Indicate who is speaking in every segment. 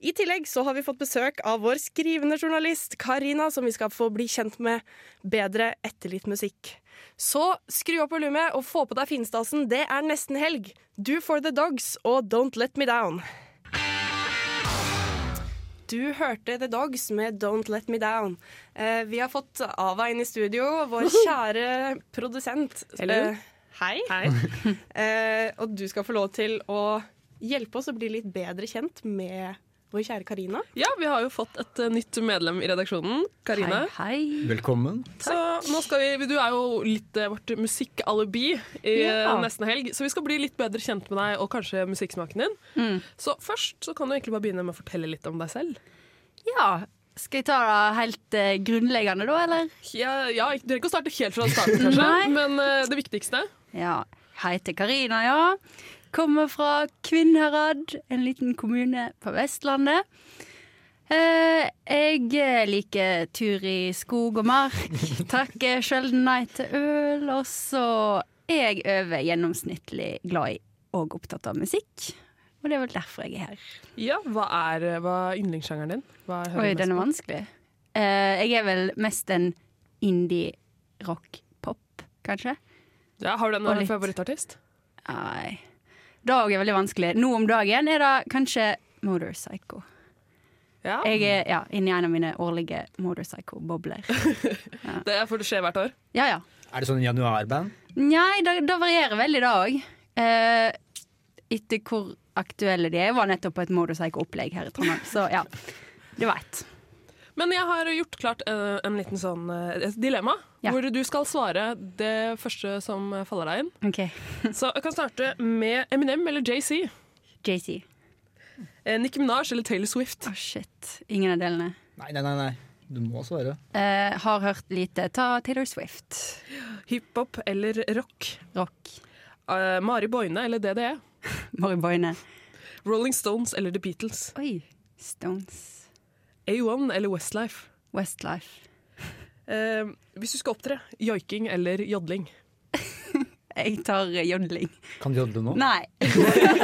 Speaker 1: I tillegg så har vi fått besøk av vår skrivende journalist Karina, som vi skal få bli kjent med bedre etter litt musikk. Så skru opp volumet og få på deg finstasen, det er nesten helg. Do for the dogs og Don't let me down. Du hørte The Dogs med Don't Let Me Down. Eh, vi har fått Ava inn i studio, vår kjære produsent.
Speaker 2: Hello.
Speaker 1: Eh, hei. Eh, og du skal få lov til å hjelpe oss å bli litt bedre kjent med vår kjære Karina.
Speaker 2: Ja, vi har jo fått et eh, nytt medlem i redaksjonen. Karine.
Speaker 3: Hei,
Speaker 4: Velkommen.
Speaker 2: Så nå skal vi, Du er jo litt eh, vårt musikkalibi i
Speaker 3: Ja.
Speaker 2: eh, nesten helg, så vi skal bli litt bedre kjent med deg og kanskje musikksmaken din. Så først så kan du egentlig bare begynne med å fortelle litt om deg selv.
Speaker 3: hei. Ja, skal jeg ta det helt eh, grunnleggende da, eller?
Speaker 2: Ja, ja Du trenger ikke å starte helt fra starten, kanskje,
Speaker 3: Nei.
Speaker 2: men eh, det viktigste
Speaker 3: Ja, heter Karina, ja. Kommer fra Kvinnherad, en liten kommune på Vestlandet. Eh, jeg eh, liker tur i skog og mark, takker sjelden nei til øl, og så er jeg over gjennomsnittlig glad i og opptatt av musikk. Og det er vel derfor jeg er her.
Speaker 2: Ja, Hva er, eh, hva er yndlingssjangeren din? Hva er
Speaker 3: Oi,
Speaker 2: hører du
Speaker 3: den
Speaker 2: mest
Speaker 3: er
Speaker 2: på?
Speaker 3: vanskelig. Eh, jeg er vel mest en indie-rock-pop, kanskje?
Speaker 2: Ja, har du en
Speaker 3: Og
Speaker 2: eh,
Speaker 3: litt.
Speaker 2: favorittartist?
Speaker 3: Nei. Det òg er veldig vanskelig. Nå om dagen er det kanskje Motorpsycho.
Speaker 2: Ja,
Speaker 3: Jeg er ja, inni en av mine årlige Motorpsycho-bobler.
Speaker 2: det er for det skjer hvert år.
Speaker 3: Ja, ja.
Speaker 4: Er det sånn januarband?
Speaker 3: Nei, det, det varierer veldig, det òg. Eh, etter hvor aktuelle de er. Jeg var nettopp på et Motorpsycho-opplegg her i Trondheim, så ja. Du veit.
Speaker 2: Men jeg har gjort klart eh, en liten sånn eh, et dilemma,
Speaker 3: Ja.
Speaker 2: hvor du skal svare det første som eh, faller deg inn.
Speaker 3: OK.
Speaker 2: Så jeg kan starte med Eminem eller JC.
Speaker 3: JC.
Speaker 2: Eh, Nicki Minaj eller Taylor Swift.
Speaker 3: Å, shit. Ingen av delene.
Speaker 4: Nei, nei, nei. nei. Du må svare.
Speaker 3: Eh, har hørt lite. Ta Taylor Swift.
Speaker 2: Hiphop eller rock.
Speaker 3: Rock.
Speaker 2: Eh, Mari Boine eller DDE.
Speaker 3: Mari Boine.
Speaker 2: Rolling Stones eller The Beatles.
Speaker 3: Oi. Stones.
Speaker 2: A1 eller Westlife.
Speaker 3: Westlife.
Speaker 2: Eh, hvis du skal opptre, joiking eller jodling.
Speaker 3: Jeg tar eh, jodling.
Speaker 4: Kan du jodle nå?
Speaker 3: Nei.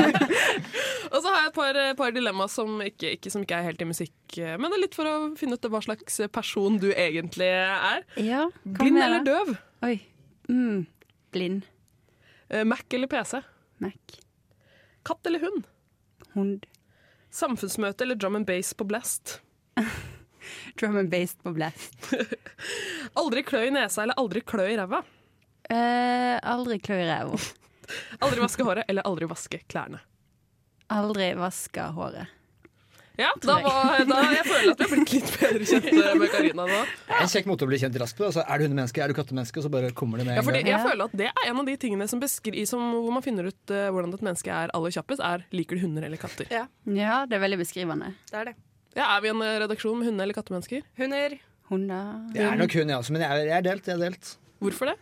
Speaker 2: Og så har jeg et par, eh, par dilemmaer som ikke, ikke, som ikke er helt i musikk, eh, men det er litt for å finne ut hva slags person du egentlig er.
Speaker 3: Ja,
Speaker 2: Blind eller døv?
Speaker 3: Oi. Mm. Blind.
Speaker 2: Eh, Mac eller PC?
Speaker 3: Mac.
Speaker 2: Katt eller hund?
Speaker 3: Hund.
Speaker 2: Samfunnsmøte eller drum and bass på blast?
Speaker 3: Drum and based på blast.
Speaker 2: Aldri klø i nesa eller aldri klø i ræva?
Speaker 3: Eh, aldri klø i ræva.
Speaker 2: Aldri vaske håret eller aldri vaske klærne.
Speaker 3: Aldri vaska håret.
Speaker 2: Ja, da var, da, jeg føler at vi har blitt litt bedre kjent med Karina nå.
Speaker 4: Det er en kjekk måte å bli kjent raskt på. Altså, er du hundemenneske, er du kattemenneske, og så bare kommer det med
Speaker 2: Ja,
Speaker 4: en
Speaker 2: fordi
Speaker 4: gang.
Speaker 2: jeg føler at Det er en av de tingene som beskri, som, hvor man finner ut eh, hvordan et menneske er aller kjappest, er liker du hunder eller katter.
Speaker 1: Ja.
Speaker 3: Ja, det er veldig beskrivende.
Speaker 1: Det er det.
Speaker 2: Ja, Er vi en eh, redaksjon med hunde- eller kattemennesker?
Speaker 1: Hunder.
Speaker 3: Hunder.
Speaker 4: Det er nok hun, jeg også, men jeg er, jeg er delt. Jeg er delt.
Speaker 2: Hvorfor det?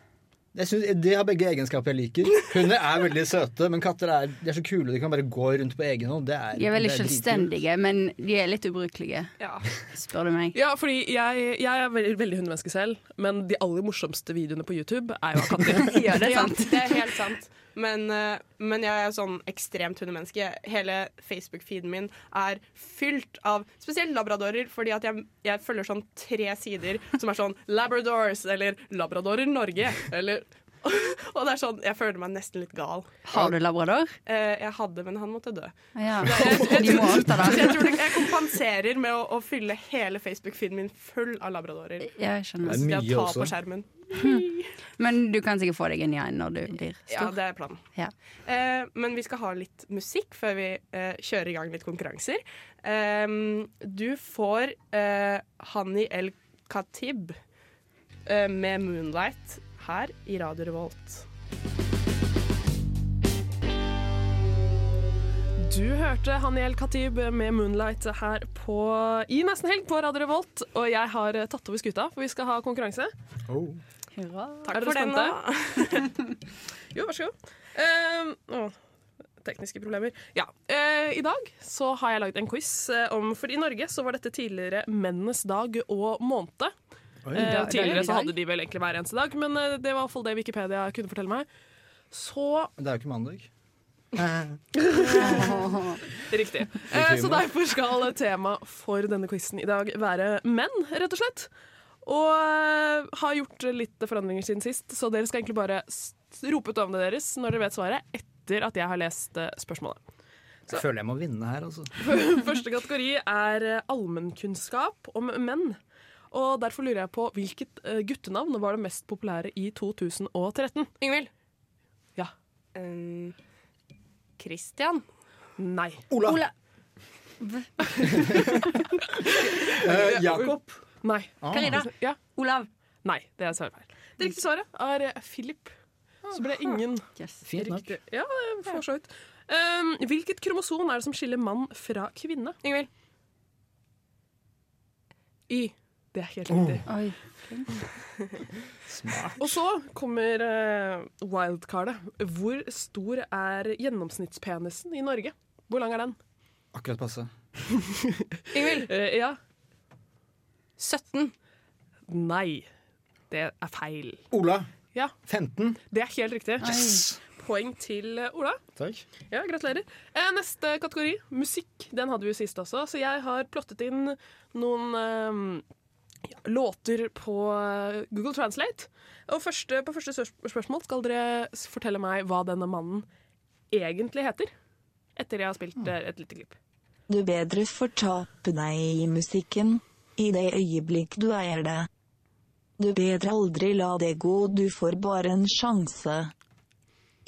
Speaker 4: Jeg synes, de har begge egenskaper jeg liker. Hunder er veldig søte, men katter er, de er så kule. De kan bare gå rundt på egen hånd. Det er,
Speaker 3: De er veldig
Speaker 4: det er dritkult.
Speaker 3: selvstendige, men de er litt ubrukelige,
Speaker 1: Ja.
Speaker 3: spør du meg.
Speaker 2: Ja, fordi jeg, jeg er veldig, veldig hundemenneske selv, men de aller morsomste videoene på YouTube er jo av katter.
Speaker 3: Ja, det er sant.
Speaker 1: Ja, det er helt sant. Men, eh, men jeg er sånn ekstremt hundemenneske. Hele Facebook-feeden min er fylt av spesielt labradorer, fordi at jeg, jeg følger sånn tre sider som er sånn Labradors eller Labradorer Norge eller Og det er sånn, jeg føler meg nesten litt gal.
Speaker 3: Har du labrador?
Speaker 1: Eh, jeg hadde, men han måtte dø.
Speaker 3: Ja.
Speaker 1: jeg-
Speaker 3: De må avta
Speaker 1: Så jeg
Speaker 3: den.
Speaker 1: tror det, jeg kompenserer med å, å fylle hele Facebook-feeden min full av labradorer.
Speaker 3: Ja, jeg
Speaker 4: Det
Speaker 3: skjønner.
Speaker 1: Det
Speaker 4: er
Speaker 1: å
Speaker 4: mye
Speaker 1: ta på
Speaker 4: også.
Speaker 1: skjermen.
Speaker 3: Men du kan sikkert få deg en igjen når du blir
Speaker 1: Ja,
Speaker 3: stor.
Speaker 1: det er planen.
Speaker 3: Ja.
Speaker 1: Eh, men vi skal ha litt musikk før vi eh, kjører i gang litt konkurranser. Ehm, du får eh, Hani El Khatib eh, med 'Moonlight' her i Radio Revolt.
Speaker 2: Du hørte Haniel Khatib med 'Moonlight' her på, i Nesten Helg på Radio Revolt. Og jeg har tatt over skuta, for vi skal ha konkurranse.
Speaker 4: Oh,
Speaker 3: Hurra.
Speaker 2: Er dere
Speaker 1: for den
Speaker 2: spente? Jo, vær så god. Ehm, å, tekniske problemer. Ja. eh, I dag så har jeg lagd en quiz eh, om For i Norge så var dette tidligere mennenes dag og måned. Eh,
Speaker 3: dag-
Speaker 2: tidligere
Speaker 3: dag-
Speaker 2: så
Speaker 3: dag.
Speaker 2: hadde de vel egentlig hver eneste dag, men eh, det var iallfall det Wikipedia kunne fortelle meg. Så
Speaker 4: Men det er jo ikke mandag.
Speaker 2: Riktig. Eh, så derfor skal temaet for denne quizen i dag være menn, rett og slett. Og eh, har gjort litt forandringer siden sist, så dere skal egentlig bare s- rope ut navnet deres når dere vet svaret, etter at jeg har lest eh, spørsmålet.
Speaker 4: Jeg føler jeg må vinne her, altså.
Speaker 2: Første kategori er eh, allmennkunnskap om menn. Og derfor lurer jeg på hvilket eh, guttenavn var det mest populære i 2013?
Speaker 1: Yngvild?
Speaker 2: Ja.
Speaker 1: Ehm, Christian?
Speaker 2: Nei.
Speaker 4: Ola.
Speaker 3: Ola.
Speaker 4: Eh, Jakob. Ah,
Speaker 2: Nei.
Speaker 3: Karina.
Speaker 2: Ja.
Speaker 3: Olav.
Speaker 2: Nei, det er svaret feil. Det riktige svaret er eh, Philip. Så ble ingen
Speaker 3: Yes.
Speaker 4: Fint nok.
Speaker 2: Riktig. Ja, det er for så vidt. Um, hvilket kromosom er det som skiller mann fra kvinne?
Speaker 1: Yngvild?
Speaker 2: Y. Det er helt riktig.
Speaker 3: Oi.
Speaker 2: Og så kommer eh, wildcardet. Hvor stor er gjennomsnittspenisen i Norge? Hvor lang er den?
Speaker 4: Akkurat passe.
Speaker 1: Yngvild?
Speaker 2: Eh, ja.
Speaker 1: 17?
Speaker 2: Nei. Det er feil.
Speaker 4: Ola.
Speaker 2: Ja.
Speaker 4: 15.
Speaker 2: Det er helt riktig.
Speaker 3: Yes.
Speaker 2: Poeng til eh, Ola.
Speaker 4: Takk.
Speaker 2: Ja, Gratulerer. Eh, neste kategori, musikk. Den hadde vi jo sist også, så jeg har plottet inn noen eh, ja, låter på eh, Google Translate. Og første, på første spørs- spørsmål skal dere s- fortelle meg hva denne mannen egentlig heter. Etter jeg har spilt eh, et lite klipp.
Speaker 5: Du bedre fortape deg i musikken, i det øyeblikk du eier det. Du bedre aldri la det gå, du får bare en sjanse.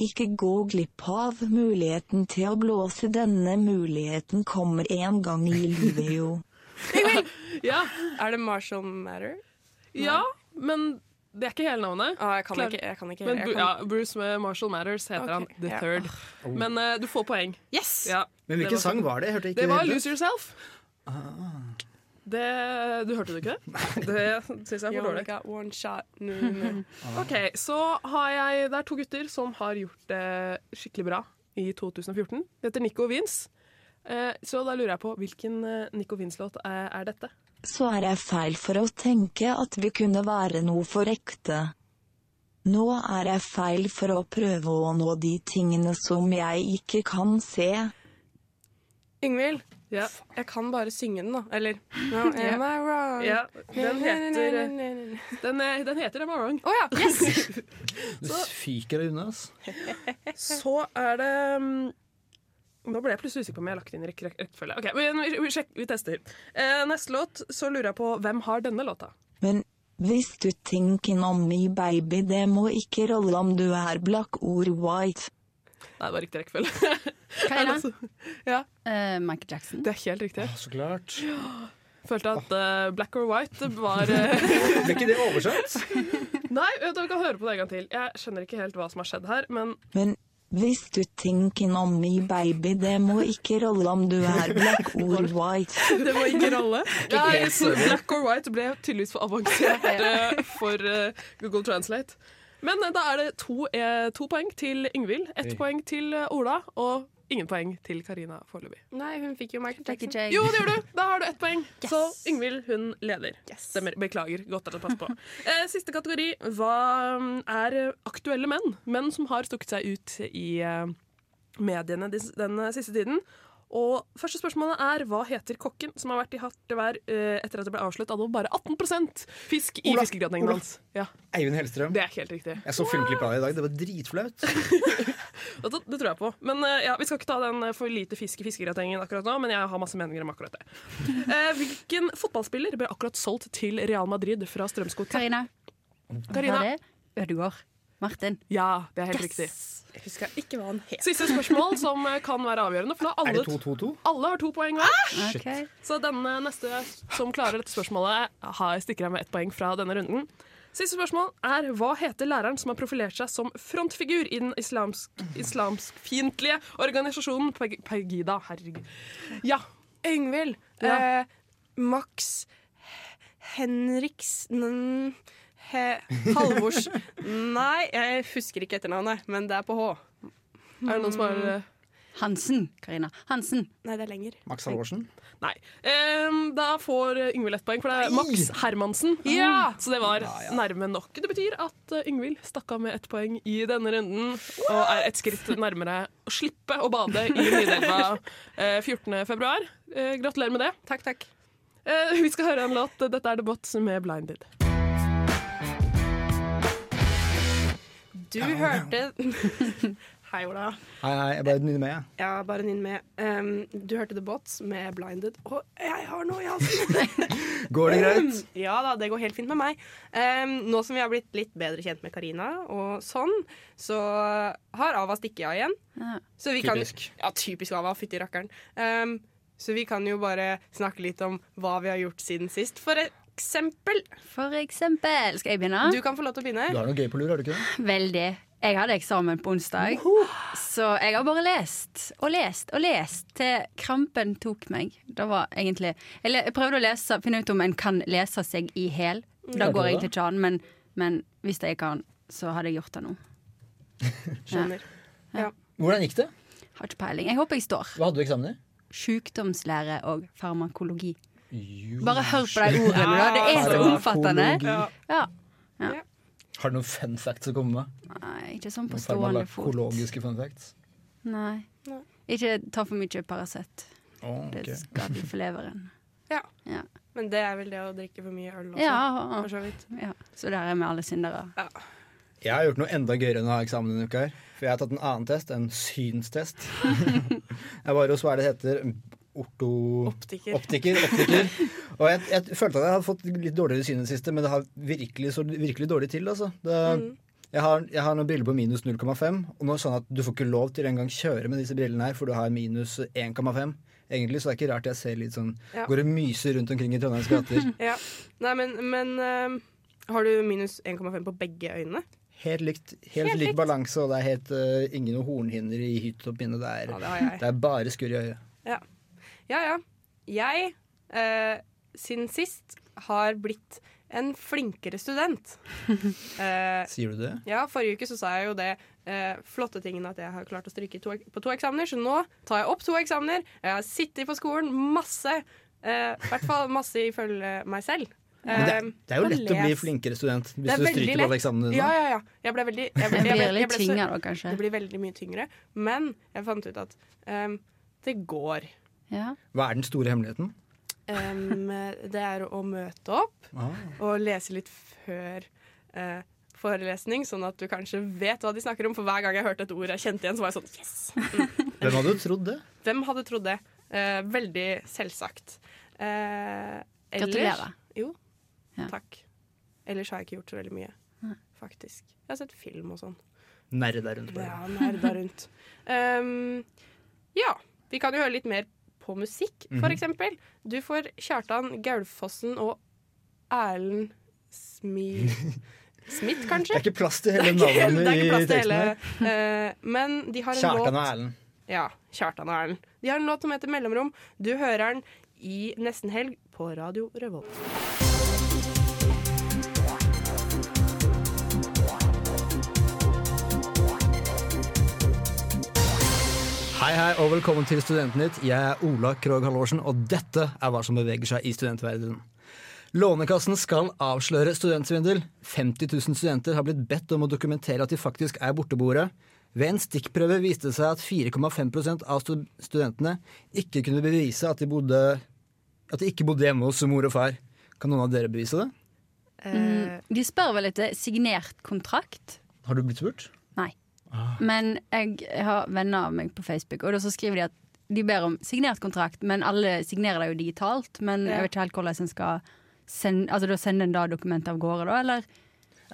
Speaker 5: Ikke gå glipp av muligheten til å blåse, denne muligheten kommer en gang i livet jo.
Speaker 2: Ja,
Speaker 1: Er det Marshall Matter?
Speaker 2: ja men det er ikke hele navnet.
Speaker 1: Ah, jeg kan
Speaker 2: Klar.
Speaker 1: ikke. Jeg kan ikke
Speaker 2: Men
Speaker 1: jeg
Speaker 2: Bru-
Speaker 1: kan.
Speaker 2: ja, Bruce med Marshall Matters heter
Speaker 1: Ok,
Speaker 2: han. The
Speaker 1: ja.
Speaker 2: Third. Men eh, du får poeng.
Speaker 1: Yes!
Speaker 2: Ja,
Speaker 4: Ah, oh. Men
Speaker 2: det var sånn-
Speaker 4: hvilken sang var det? Jeg hørte ikke
Speaker 2: Det var
Speaker 4: helt.
Speaker 2: Lose Yourself. Ah. Det, du hørte det ikke? Det Det syns jeg er
Speaker 1: You
Speaker 2: for
Speaker 1: only
Speaker 2: dårlig.
Speaker 1: got one shot. No, no, no.
Speaker 2: Ok, så har jeg, Det er to gutter som har gjort det skikkelig bra i 2014. Det heter Nico og Vince. Eh, Så da lurer jeg på hvilken eh, Nico Vince-låt er, er dette?
Speaker 5: Så er jeg feil for å tenke at vi kunne være noe for ekte. Nå er jeg feil for å prøve å nå de tingene som jeg ikke kan se.
Speaker 1: Yngvild,
Speaker 2: Ja,
Speaker 1: jeg kan bare synge den, da. Eller no, Am I wrong?
Speaker 2: ja den heter eh,
Speaker 1: Å
Speaker 2: den, er- den heter Am I Wrong.
Speaker 1: ja! Yes!
Speaker 4: Du fyker deg unna, ass.
Speaker 2: Så er det mm, Nå ble jeg plutselig usikker på om jeg har lagt inn i riktig rek- rekkefølge. Ok, men vi, vi, sjekk, vi tester. Eh, neste låt så lurer jeg på hvem har denne låta?
Speaker 5: Men hvis du tenker om i baby, det må ikke rolle om du er black or white.
Speaker 2: Nei, det var riktig rekkefølge.
Speaker 3: Karina.
Speaker 2: Altså,
Speaker 3: Eh, Michael Jackson.
Speaker 2: Det er helt riktig.
Speaker 4: Så klart.
Speaker 2: Følte at eh, black or white var eh,
Speaker 4: Ble ikke det oversatt?
Speaker 2: Nei, vet du, vi kan høre på det en gang til. Jeg skjønner ikke helt hva som har skjedd her, men
Speaker 5: Men hvis du tenker om i baby, det må ikke rolle om du er black or white.
Speaker 2: det var ikke rolle. Nei, så black or white ble tydeligvis for avansert eh, for eh, Google Translate. Men eh, da er det to, eh, to poeng til Yngvild, ett
Speaker 4: Oi.
Speaker 2: poeng til eh, Ola og ingen poeng til Karina foreløpig.
Speaker 1: Nei, hun fikk jo Michael
Speaker 3: Jackie
Speaker 1: Jackson.
Speaker 3: J.
Speaker 2: Jo, det gjør du! Da har du ett poeng.
Speaker 1: Yes.
Speaker 2: Så Yngvild, hun leder.
Speaker 1: Yes.
Speaker 2: Stemmer. Beklager. Godt at du passer på. Eh, siste kategori hva mm, er aktuelle menn. Menn som har stukket seg ut i eh, mediene dis- den eh, siste tiden. Og første spørsmålet er hva heter kokken som har vært i hardt vær eh, etter at det ble avslørt av bare 18 fisk i
Speaker 4: Ola.
Speaker 2: fiskegratengene
Speaker 4: Ola.
Speaker 2: hans? Ja,
Speaker 4: Eivind Hellstrøm.
Speaker 2: det er ikke helt riktig.
Speaker 4: Jeg så filmklipp av det i dag. Det var dritflaut.
Speaker 2: Det, det tror jeg på. Men eh, ja, Vi skal ikke ta den eh, for lite fisk i fiskegratengen akkurat nå, men jeg har masse meninger om akkurat det. Eh, hvilken fotballspiller ble akkurat solgt til Real Madrid fra Strømsgodset?
Speaker 3: Karina.
Speaker 2: Karina.
Speaker 3: Var det Ødegaard. Martin.
Speaker 2: Ja, det er helt riktig.
Speaker 6: Jeg husker ikke hva han het.
Speaker 2: Siste spørsmål som eh, kan være avgjørende, for da har
Speaker 4: Er det
Speaker 2: alle,
Speaker 4: 2-2-2?
Speaker 2: alle har to poeng hver.
Speaker 3: Ok.
Speaker 2: Så denne neste som klarer dette spørsmålet, har stikker av med ett poeng fra denne runden. Siste spørsmål er hva heter læreren som har profilert seg som frontfigur i den islamsk, islamskfiendtlige organisasjonen Peg- Pegida? Herregud. Ja.
Speaker 1: Yngvild.
Speaker 2: Ja.
Speaker 1: Eh, Max Henriks n- he, Halvors Nei, jeg husker ikke etternavnet, men det er på H.
Speaker 2: Er det noen som har eh,
Speaker 3: Hansen, Karina. Hansen.
Speaker 1: Nei, det er lenger.
Speaker 4: Max Halvorsen?
Speaker 2: Nei. Ehm, da får eh, Yngvild ett poeng, for det er
Speaker 4: Nei!
Speaker 2: Max Hermansen. Ja! Så det var nærme nok. Det betyr at eh, Yngvild stakk av med ett poeng i denne runden og er et skritt nærmere å slippe å bade i Nidelva eh, 14. februar. Eh, gratulerer med det.
Speaker 1: Takk, takk.
Speaker 2: Eh, vi skal høre en låt. Dette er Debatt med Blinded.
Speaker 1: Du hørte Hei, Ola.
Speaker 4: Hei, hei, jeg bare nynner med, jeg.
Speaker 1: Ja, bare nynn med. Um, du hørte The Bots med Blinded. Å, jeg har noe i halsen!
Speaker 4: Går det greit?
Speaker 1: Mm, Ja da, det går helt fint med meg. Ehm, nå som vi har blitt litt bedre kjent med Karina og sånn, så har Ava stikket av igjen.
Speaker 3: Ja.
Speaker 1: Så vi
Speaker 4: Typisk.
Speaker 1: Kan, ja, typisk Ava. Fytti rakkeren. Ehm, så vi kan jo bare snakke litt om hva vi har gjort siden sist. For eksempel.
Speaker 3: For eksempel. Skal jeg begynne?
Speaker 1: Du kan få lov til å
Speaker 4: Du
Speaker 1: begynne.
Speaker 4: har noe gøy på lur, har du ikke det?
Speaker 3: Veldig. Jeg hadde eksamen på onsdag, så jeg har bare lest og lest og lest til krampen tok meg. Det var egentlig Jeg, le- jeg prøvde å lese, finne ut om en kan lese seg i hæl. Da
Speaker 4: Klarte du
Speaker 3: går jeg
Speaker 4: det?
Speaker 3: til ikke an, men, men hvis jeg ikke kan, så hadde jeg gjort det nå.
Speaker 1: Skjønner.
Speaker 4: Hvordan gikk det?
Speaker 3: Har ikke peiling. Jeg håper jeg står.
Speaker 4: Hva hadde du eksamen i?
Speaker 3: Sjukdomslære og farmakologi. Bare hør på de ordene, da. Det er så
Speaker 4: Farmakologi.
Speaker 3: omfattende. Ja.
Speaker 4: Har du noen fun facts å komme med?
Speaker 3: Nei, ikke sånn på
Speaker 4: Noen
Speaker 3: stående fot.
Speaker 4: farmakologiske fun facts?
Speaker 3: Nei. Ikke ta for mye Paracet.
Speaker 4: Å,
Speaker 3: Det
Speaker 4: ok.
Speaker 3: er skadelig for leveren.
Speaker 1: Ja.
Speaker 3: Ja.
Speaker 1: Men det er vel det å drikke for mye øl også.
Speaker 3: Ja,
Speaker 1: For så vidt.
Speaker 3: ja. Så der er vi alle syndere.
Speaker 4: Jeg har gjort noe enda gøyere enn å ha eksamen denne uka. her For jeg har tatt en annen test, en synstest. jeg var hos hva er det det heter? Orto...
Speaker 1: Optiker.
Speaker 4: Optiker. optiker. Og jeg, jeg følte at jeg hadde fått litt dårligere syn i det siste, men det har virkelig, så virkelig dårlig til. Altså. Det,
Speaker 1: Mm.
Speaker 4: jeg, har, jeg har noen briller på minus 0,5, og nå er det sånn at du får ikke lov til engang kjøre med disse brillene her, for du har minus 1,5. Egentlig, Så det er ikke rart jeg ser litt sånn
Speaker 1: Ja.
Speaker 4: Går og myser rundt omkring i Trondheims gater.
Speaker 1: Ja. Nei, men, men ehm, har du minus 1,5 på begge øynene?
Speaker 4: Helt likt, helt lik balanse, og det er helt eh, ingen hornhinner i hytt og pinne. Det er,
Speaker 1: Ja, det har jeg.
Speaker 4: det er bare skurr i øyet.
Speaker 1: Ja, ja. Jeg, eh, siden sist, har blitt en flinkere student. Eh,
Speaker 4: Sier du det?
Speaker 1: ja, forrige uke så sa jeg jo det eh, flotte tingen at jeg har klart å stryke i to, på to eksamener, så nå tar jeg opp to eksamener. Jeg har sittet på skolen masse, eh, i hvert fall masse ifølge meg selv.
Speaker 4: Men det,
Speaker 1: Eh,
Speaker 4: det er jo
Speaker 1: og
Speaker 4: lett å bli
Speaker 1: les.
Speaker 4: flinkere student hvis
Speaker 1: Det er
Speaker 4: du
Speaker 1: veldig lett.
Speaker 4: stryker på alle eksamene dine.
Speaker 1: Ja, ja, ja. Jeg ble veldig jeg ble,
Speaker 3: Jeg
Speaker 1: jeg ble,
Speaker 3: blir
Speaker 1: jeg
Speaker 3: litt
Speaker 1: ble så-
Speaker 3: tynga da,
Speaker 1: Det
Speaker 3: kanskje.
Speaker 1: blir veldig mye tyngre. Men jeg fant ut at ehm, det går.
Speaker 3: Ja.
Speaker 4: Hva er den store hemmeligheten?
Speaker 1: Ehm, det er å møte opp
Speaker 4: Ah.
Speaker 1: og lese litt før eh, forelesning, sånn at du kanskje vet hva de snakker om. For hver gang jeg hørte et ord jeg kjente igjen, så var jeg sånn Yes!
Speaker 4: Hvem hadde jo trodd det?
Speaker 1: Hvem hadde trodd det? Eh, veldig selvsagt. Eh, ellers-
Speaker 3: Gratulerer.
Speaker 1: Jo,
Speaker 3: Ja.
Speaker 1: takk. Ellers har jeg ikke gjort så veldig mye, faktisk. Jeg har sett film og sånn.
Speaker 4: Nerda rundt på det.
Speaker 1: Ja, nerda rundt. Ehm, ja, vi kan jo høre litt mer på musikk, for eksempel. Du får Kjartan Gaulfossen og Erlend Smi... Smith,
Speaker 4: Det
Speaker 1: kanskje?
Speaker 4: er ikke plass til hele
Speaker 1: Det er
Speaker 4: navnet
Speaker 1: ikke
Speaker 4: i
Speaker 1: plass til
Speaker 4: teksten
Speaker 1: hele
Speaker 4: her.
Speaker 1: eh, Men de har en
Speaker 4: Kjartan og
Speaker 1: låt
Speaker 4: Erlend.
Speaker 1: Ja, Kjartan og Erlend. De har en låt som heter 'Mellomrom'. Du hører den i Nesten Helg på Radio Revolt.
Speaker 4: Hei, hei, og velkommen til Studentnytt. Jeg er Ola Krogh Halvorsen, og dette er hva som beveger seg i studentverdenen. Lånekassen skal avsløre studentsvindel. 50 000 studenter har blitt bedt om å dokumentere at de faktisk er borteboere. Ved en stikkprøve viste det seg at 4,5 av stu- studentene ikke kunne bevise at de, bodde, at de ikke bodde hjemme hos mor og far. Kan noen av dere bevise det?
Speaker 3: Mm, de spør vel etter signert kontrakt.
Speaker 4: Har du blitt spurt?
Speaker 3: Nei. Men jeg har venner av meg på Facebook, og da så skriver de at de ber om signert kontrakt, men alle signerer det jo digitalt. Men jeg vet ikke helt hvordan en skal sende, altså da sende en da dokumentet av gårde, da, eller?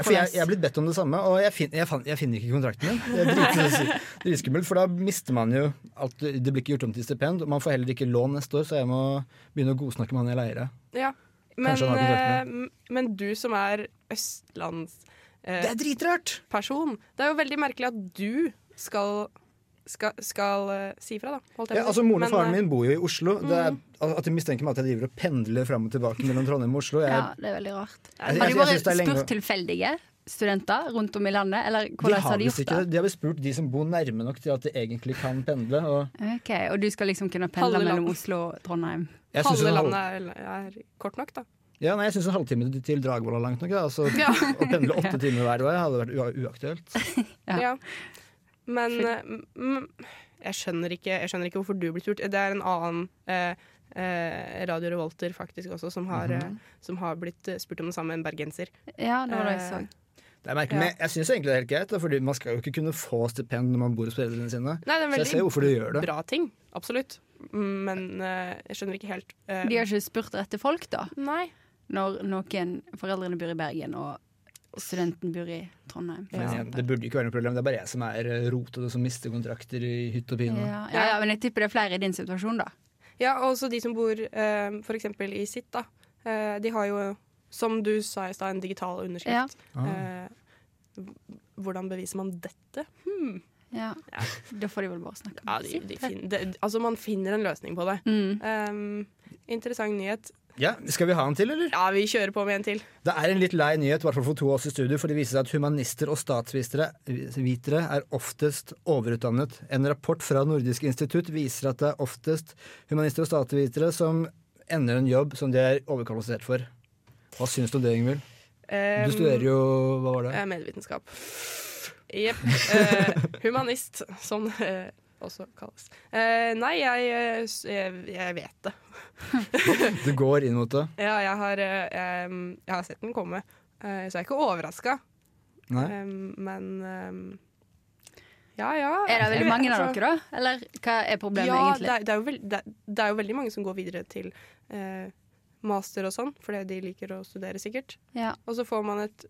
Speaker 4: For jeg, jeg er blitt bedt om det samme, og jeg, fin, jeg, fan, jeg finner ikke kontrakten min. Det er drit- dritskummelt, for da mister man jo alt. Det blir ikke gjort om til stipend, og man får heller ikke lån neste år, så jeg må begynne å godsnakke med han jeg leier av.
Speaker 1: Ja. Men,
Speaker 4: Kanskje han har kontakt
Speaker 1: eh, men du som er østlandsperson,
Speaker 3: Eh,
Speaker 4: Det er dritrart!
Speaker 1: det er jo veldig merkelig at du skal skal, skal eh, si fra, da. holdt jeg
Speaker 4: Ja,
Speaker 1: på å si.
Speaker 4: altså Moren og
Speaker 1: Men,
Speaker 4: faren
Speaker 1: eh,
Speaker 4: min bor jo i Oslo. Det er,
Speaker 3: Mhm.
Speaker 4: al- at De mistenker meg at jeg driver og pendler fram og tilbake mellom Trondheim og Oslo. Jeg,
Speaker 3: Ja, det er veldig rart.
Speaker 4: jeg,
Speaker 3: Har
Speaker 4: jeg-
Speaker 3: de
Speaker 4: jeg
Speaker 3: bare
Speaker 4: synes det er lenge-
Speaker 3: spurt tilfeldige studenter rundt om i landet, eller
Speaker 4: de
Speaker 3: hvordan
Speaker 4: har,
Speaker 3: har de
Speaker 4: visst
Speaker 3: gjort
Speaker 4: ikke
Speaker 3: det?
Speaker 4: det. De har vel spurt de som bor nærme nok til at de egentlig kan pendle. Og
Speaker 3: Ok, Og du skal liksom kunne pendle
Speaker 1: Halve land.
Speaker 3: mellom Oslo og Trondheim?
Speaker 4: jeg synes
Speaker 1: Halve
Speaker 4: en halv-
Speaker 1: landet er, er kort nok, da.
Speaker 4: ja, nei, jeg syns en halvtime til Dragvoll er langt nok. da. Altså,
Speaker 1: Ja.
Speaker 4: Å pendle åtte timer hver vei hadde vært ua- uaktuelt.
Speaker 3: Ja.
Speaker 1: Ja. Men eh, m- m- jeg skjønner, ikke, jeg skjønner ikke hvorfor du blir spurt. Det er en annen eh, eh, Radio Revolter faktisk også som har, eh, som har blitt eh, spurt om det samme, en bergenser.
Speaker 3: Ja, det var det jeg så.
Speaker 1: Eh,
Speaker 4: Det er merkelig, men jeg syns egentlig det er helt greit, da, Fordi man skal jo ikke kunne få stipend når man bor hos foreldrene sine.
Speaker 1: Nei, det er en
Speaker 4: Så jeg ser
Speaker 1: veldig
Speaker 4: hvorfor de gjør det.
Speaker 1: bra ting, absolutt. Men eh, jeg skjønner ikke helt eh,
Speaker 3: De har ikke spurt rette folk, da?
Speaker 1: Nei.
Speaker 3: Når noen foreldrene bor i Bergen, og studenten bor i Trondheim. for
Speaker 4: Men
Speaker 3: eksempel.
Speaker 4: igjen, det burde ikke være noe problem. Det er bare jeg som er eh, rotete og som mister kontrakter i hytt og pine.
Speaker 3: Ja, ja, ja, men jeg tipper det er flere i din situasjon, da.
Speaker 1: Ja, og også de som bor eh, for eksempel i sitt, da. Eh, de har jo, som du sa i stad, en digital underskrift.
Speaker 4: Ah.
Speaker 1: Eh, h- hvordan beviser man dette?
Speaker 3: Ja. Da får de vel bare snakke
Speaker 1: Ja,
Speaker 3: med
Speaker 1: de,
Speaker 3: sitt.
Speaker 1: de fin, det- altså man finner en løsning på det.
Speaker 3: Mm.
Speaker 1: Um, interessant nyhet.
Speaker 4: Ja, Skal vi ha en til, eller?
Speaker 1: Ja, vi kjører på med en til.
Speaker 4: Det er en litt lei nyhet, i hvert fall for to av oss i studio, for det viser seg at humanister og statsvitere vitere er oftest overutdannet. En rapport fra Nordisk institutt viser at det er oftest humanister og statsvitere som ender en jobb som de er overkvalifisert for. Hva syns du om det, Ingvild?
Speaker 1: Um,
Speaker 4: Du studerer jo Hva var det?
Speaker 1: eh, Medievitenskap. Jepp. Eh, humanist, som det eh, også kalles. Eh, nei, jeg, eh, s- jeg, jeg vet det.
Speaker 4: Du går inn mot det?
Speaker 1: Ja, jeg har, eh, em, jeg har sett den komme, eh, så jeg er ikke overraska.
Speaker 4: Nei?
Speaker 1: Em, men em, ja, ja.
Speaker 3: Er det
Speaker 1: Jeg
Speaker 3: veldig
Speaker 1: vet-
Speaker 3: mange av
Speaker 1: altså-
Speaker 3: dere, da? Eller hva er problemet
Speaker 1: ja,
Speaker 3: egentlig?
Speaker 1: Det, er- det, er jo veld, det, er- det er jo veldig mange som går videre til eh, master og sånn, fordi de liker å studere, sikkert.
Speaker 3: Ja.
Speaker 1: Og så får man et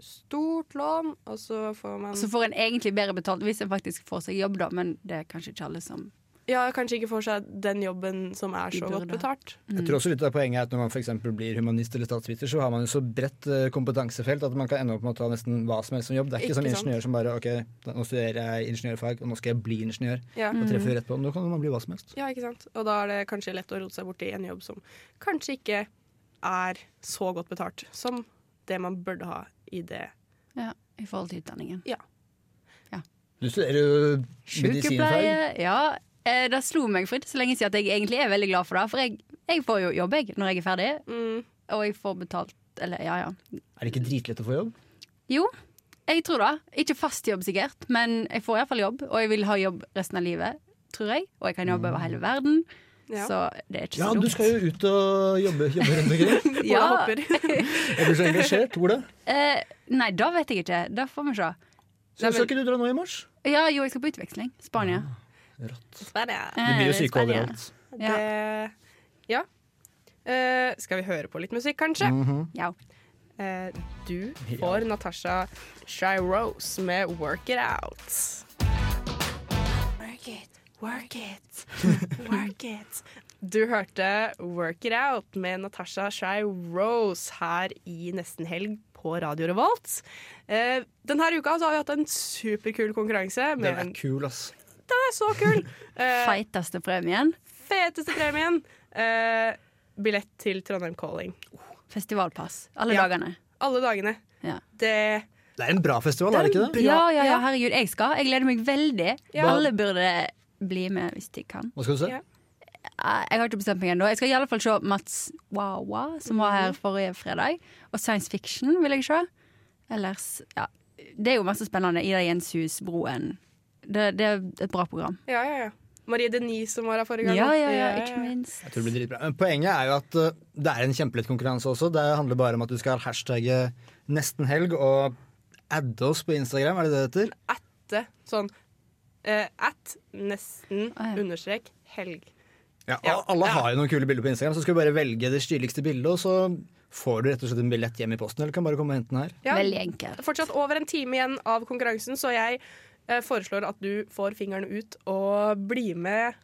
Speaker 1: stort lån, og så får man
Speaker 3: Så får en egentlig bedre betalt hvis en faktisk får seg jobb, da, men det er kanskje ikke alle som
Speaker 1: Ja, kanskje ikke får seg den jobben som er
Speaker 3: De
Speaker 1: så
Speaker 3: burde
Speaker 1: godt
Speaker 3: ha.
Speaker 1: betalt.
Speaker 4: Jeg tror også litt av poenget er at når man for eksempel blir humanist eller statsviter, så har man jo så bredt eh, kompetansefelt at man kan ende opp med å ta nesten hva som helst som jobb. Det er ikke,
Speaker 1: Ikke
Speaker 4: som
Speaker 1: sant?
Speaker 4: ingeniør som bare OK, da, nå studerer jeg ingeniørfag, og nå skal jeg bli ingeniør.
Speaker 1: Ja.
Speaker 3: Mm.
Speaker 4: Da treffer vi rett på. Nå kan man bli hva som helst.
Speaker 1: ja, ikke sant. Og da er det kanskje lett å rote seg borti en jobb som kanskje ikke er så godt betalt som det man burde ha i det.
Speaker 3: Ja, i forhold til utdanningen.
Speaker 4: Du studerer jo medisinfag.
Speaker 3: Sykepleie, ja. Eh, Det slo meg for ikke så lenge siden at jeg egentlig er veldig glad for det. For jeg, jeg får jo jobb, jeg, når jeg er ferdig.
Speaker 1: Mm.
Speaker 3: Og jeg får betalt, eller ja ja.
Speaker 4: Er det ikke dritlett å få jobb?
Speaker 3: Jo, jeg tror det. Ikke fast jobb sikkert, men jeg får iallfall jobb. Og jeg vil ha jobb resten av livet, tror jeg. Og jeg kan jobbe over hele verden.
Speaker 1: Ja.
Speaker 3: Så det er ikke
Speaker 4: Ja,
Speaker 3: så
Speaker 4: du
Speaker 3: dumt.
Speaker 4: skal jo ut og jobbe, jobbe rundt omkring.
Speaker 3: Ja.
Speaker 1: Ola hopper.
Speaker 4: Jeg blir så engasjert. Ola,
Speaker 3: Eh, nei, det vet jeg ikke. Det får vi se.
Speaker 4: så skal ikke du dra nå i mars?
Speaker 3: Ja, jo, jeg skal på utveksling. Spania.
Speaker 1: Sverre.
Speaker 4: Du blir jo
Speaker 3: Eh,
Speaker 4: syke
Speaker 3: Spania.
Speaker 4: overalt.
Speaker 3: Ja.
Speaker 1: Det Ja. Eh, skal vi høre på litt musikk, kanskje?
Speaker 3: Ja.
Speaker 1: Eh, du får Natasha Shirose med 'Work It Out'. Work it, work it, work it. Du hørte 'Work It Out' med Natasha Shirose her i Nesten Helg på Radio Revolt. Eh, denne uka så har vi hatt en superkul konkurranse. Med
Speaker 4: Den
Speaker 1: en,
Speaker 4: er kul, ass.
Speaker 1: den er så kul! Eh,
Speaker 3: Feiteste premien.
Speaker 1: feteste premien. Eh, billett til Trondheim Calling.
Speaker 3: Festivalpass. Alle
Speaker 1: Ja.
Speaker 3: dagene.
Speaker 1: Alle dagene.
Speaker 3: Ja.
Speaker 1: Det
Speaker 4: Det er en bra festival, er det ikke det?
Speaker 3: Ja, ja, ja, herregud. Jeg skal. Jeg gleder meg veldig.
Speaker 1: Ja.
Speaker 3: Alle burde bli med hvis de kan.
Speaker 4: Hva skal du se?
Speaker 1: Ja.
Speaker 3: Eh, Jeg har ikke bestemt meg ennå. Jeg skal i alle fall se Mats Wawa, som var her forrige fredag. Og science fiction vil jeg se. Ellers, ja. Det er jo masse spennende. Ida Jenshus, Broen, Det, det er et bra program.
Speaker 1: Ja, ja, ja. Marie Denise som var her forrige gang.
Speaker 3: Ja, ja, ja, ikke minst.
Speaker 4: Jeg tror det blir dritbra. Men poenget er jo at eh, det er en kjempelett konkurranse også. Det handler bare om at du skal hashtagge nesten helg og adde oss på Instagram, er det det det heter?
Speaker 1: Atte, sånn eh, at nesten
Speaker 3: Ah, ja.
Speaker 1: understrek helg.
Speaker 4: Ja, og
Speaker 1: Ja.
Speaker 4: alle
Speaker 1: Ja.
Speaker 4: har jo noen kule bilder på Instagram, så skal du bare velge det stiligste bildet, og så får du rett og slett en billett hjem i posten, eller kan bare komme og hente den her.
Speaker 1: Ja.
Speaker 3: Veldig enkelt.
Speaker 1: Det er fortsatt over en time igjen av konkurransen, så jeg eh, foreslår at du får fingeren ut og blir med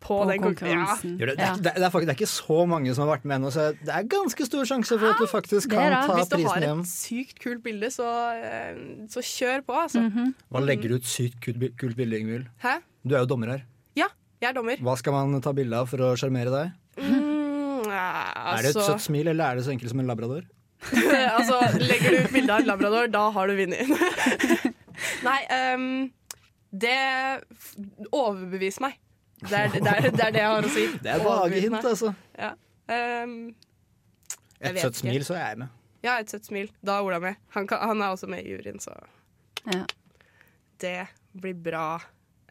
Speaker 1: på,
Speaker 3: På
Speaker 1: den konkurransen.
Speaker 3: konkurransen.
Speaker 4: Gjør Det, det,
Speaker 3: Ja.
Speaker 4: er, det, er, fak- det er ikke så mange som har vært med ennå, så det er ganske stor sjanse for at du faktisk
Speaker 3: det
Speaker 4: kan
Speaker 3: er det.
Speaker 4: ta
Speaker 1: Hvis du har
Speaker 4: prisen hjem.
Speaker 1: et sykt kult bilde, så, eh, så kjør på, altså.
Speaker 3: Mhm.
Speaker 4: Hva legger du ut sykt kult, bi- kult bilde, Ingvild?
Speaker 1: Hæ?
Speaker 4: Du er jo dommer her.
Speaker 1: Ja, jeg er dommer.
Speaker 4: Hva skal man ta bilde av for å sjarmere deg?
Speaker 1: Mm,
Speaker 4: er det et
Speaker 1: altså,
Speaker 4: søtt smil, eller er det så enkelt som en labrador?
Speaker 1: altså, legger du ut bilde av en labrador, da har du vunnet. Nei, ehm, det f- Overbevis meg. Det er det, er, det er det jeg har å si.
Speaker 4: Det er
Speaker 1: Overbevis
Speaker 4: vage hint,
Speaker 1: meg.
Speaker 4: altså.
Speaker 1: Ja. Ehm, Jeg
Speaker 4: Et
Speaker 1: vet
Speaker 4: søtt
Speaker 1: ikke.
Speaker 4: smil, så er jeg med.
Speaker 1: ja, et søtt smil. Da er Ola med. Han, kan, han er også med i juryen, så
Speaker 3: Ja.
Speaker 1: det blir bra.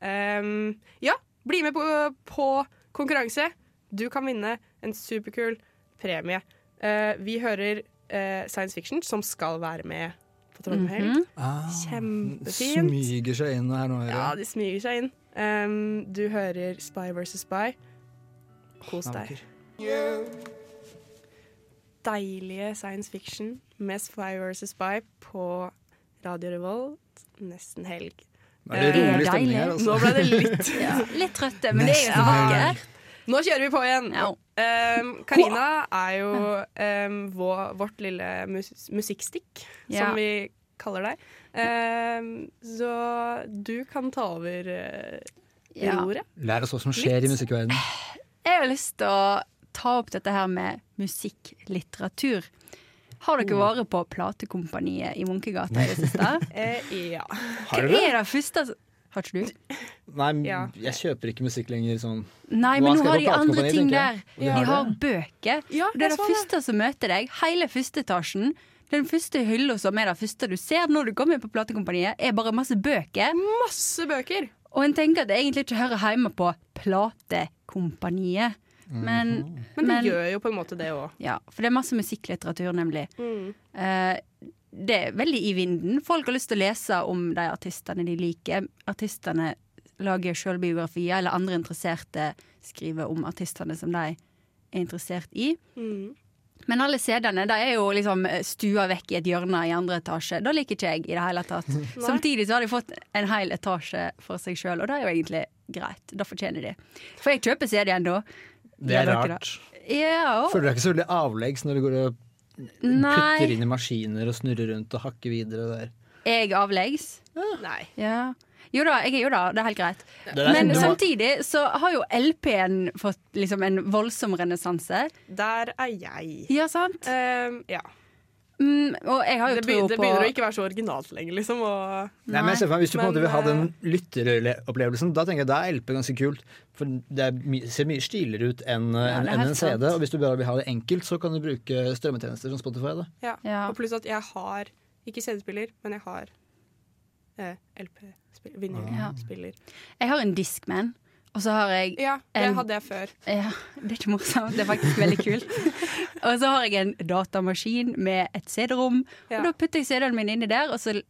Speaker 1: Ehm, ja, bli med på, på konkurranse. Du kan vinne en superkul premie. Eh, vi hører eh, Science Fiction, som skal være med på Trondheim Helg.
Speaker 4: Ah,
Speaker 1: Kjempefint.
Speaker 4: smyger seg inn her nå. hører
Speaker 1: Ja,
Speaker 4: jeg.
Speaker 1: de smyger seg inn. Ehm, du hører Spy versus Spy. Kos
Speaker 4: Nei,
Speaker 1: deg.
Speaker 4: vakker.
Speaker 1: Deilige science fiction med Spy versus Spy på Radio Revolt nesten helg.
Speaker 4: Nå er det
Speaker 1: Eh,
Speaker 4: rolig
Speaker 3: deilig.
Speaker 4: stemning her, altså.
Speaker 1: Nå ble det litt
Speaker 3: Ja. Litt trøtte, men det er jo
Speaker 4: Nesten
Speaker 3: tilbake.
Speaker 1: Nå kjører vi på igjen!
Speaker 3: Ja.
Speaker 1: Ehm, Karina er jo ehm, vår, vårt lille mus musikkstikk,
Speaker 3: Ja.
Speaker 1: som vi kaller deg. Ehm, så du kan ta over eh,
Speaker 3: Ja.
Speaker 1: roret.
Speaker 4: Lær oss hva som skjer i musikkverdenen.
Speaker 3: Jeg har lyst til å ta opp dette her med musikklitteratur. Har dere vært på Platekompaniet i Munkegata i det siste?
Speaker 1: Eh, ja.
Speaker 3: Hva er det første Har ikke du?
Speaker 4: Nei,
Speaker 1: Ja.
Speaker 4: jeg kjøper ikke musikk lenger sånn.
Speaker 3: Nei,
Speaker 4: Nå
Speaker 3: men nå
Speaker 4: skal
Speaker 3: har
Speaker 4: jeg
Speaker 3: de
Speaker 4: på
Speaker 3: andre
Speaker 4: platekompani,
Speaker 3: ting der.
Speaker 4: tenker jeg.
Speaker 3: De
Speaker 4: Ja.
Speaker 3: har bøker.
Speaker 1: Ja,
Speaker 3: Det er
Speaker 1: jeg
Speaker 3: det
Speaker 1: så
Speaker 3: første som møter deg. Hele første etasjen. Den første hylla som er det første du ser når du kommer på platekompaniet, er bare masse bøker.
Speaker 1: Masse bøker!
Speaker 3: Og en tenker at det egentlig ikke hører hjemme på platekompaniet. Men,
Speaker 4: Mhm.
Speaker 1: Men,
Speaker 3: men-
Speaker 1: det gjør jo på en måte det òg.
Speaker 3: ja, for det er masse musikklitteratur, nemlig. Eh, det er veldig i vinden. Folk har lyst til å lese om de artistene de liker. Artistene lager sjølbiografier, eller andre interesserte skriver om artistene som de er interessert i. Men alle CD-ene de er jo liksom stua vekk i et hjørne i andre etasje. Det liker ikke jeg i det hele tatt. Samtidig så har de fått en hel etasje for seg sjøl, og det er jo egentlig greit. Det fortjener de. For jeg kjøper CD-en da.
Speaker 4: Det er
Speaker 3: Gjør dere
Speaker 4: rart.
Speaker 3: Ja, og-
Speaker 4: Føler deg ikke så veldig avleggs når du går og putter
Speaker 3: Nei,
Speaker 4: inn i maskiner og snurrer rundt og hakker videre der.
Speaker 3: jeg avleggs.
Speaker 1: Nei.
Speaker 3: Ja. Jo da, jeg, jo da, det er helt greit.
Speaker 4: Det er sånn,
Speaker 3: Men
Speaker 4: du må-
Speaker 3: samtidig så har jo LP-en fått liksom en voldsom renessanse.
Speaker 1: Der er jeg.
Speaker 3: Ja, sant?
Speaker 1: Ehm, ja.
Speaker 3: Mm, og jeg har jo
Speaker 1: Det, be
Speaker 3: tro
Speaker 1: det
Speaker 3: på
Speaker 1: begynner å ikke være så originalt lenger, liksom. Og
Speaker 4: Nei, men jeg ser for meg, Hvis du på
Speaker 1: Men,
Speaker 4: en måte vil ha
Speaker 1: eh,
Speaker 4: den lytteropplevelsen, da tenker jeg da er LP ganske kult. For det er, my- ser mye stiligere ut enn
Speaker 3: Ja,
Speaker 4: enn-
Speaker 3: det er
Speaker 4: enn
Speaker 3: helt
Speaker 4: en CD.
Speaker 3: sant.
Speaker 4: Og hvis du bare vil ha det enkelt, så kan du bruke strømmetjenester som Spotify. da.
Speaker 1: Ja.
Speaker 3: Ja.
Speaker 1: Og pluss at jeg har ikke CD-spiller, men jeg har eh, LP-spiller.
Speaker 3: Ja.
Speaker 1: Vinylspiller.
Speaker 3: Jeg har en Discman, og så har jeg
Speaker 1: Ja,
Speaker 3: En-
Speaker 1: det hadde jeg før.
Speaker 3: ja, Det er ikke morsomt, det er faktisk veldig kult. og så har jeg en datamaskin med et CD-rom,
Speaker 1: Ja.
Speaker 3: og da putter jeg CD-en min inni der, og så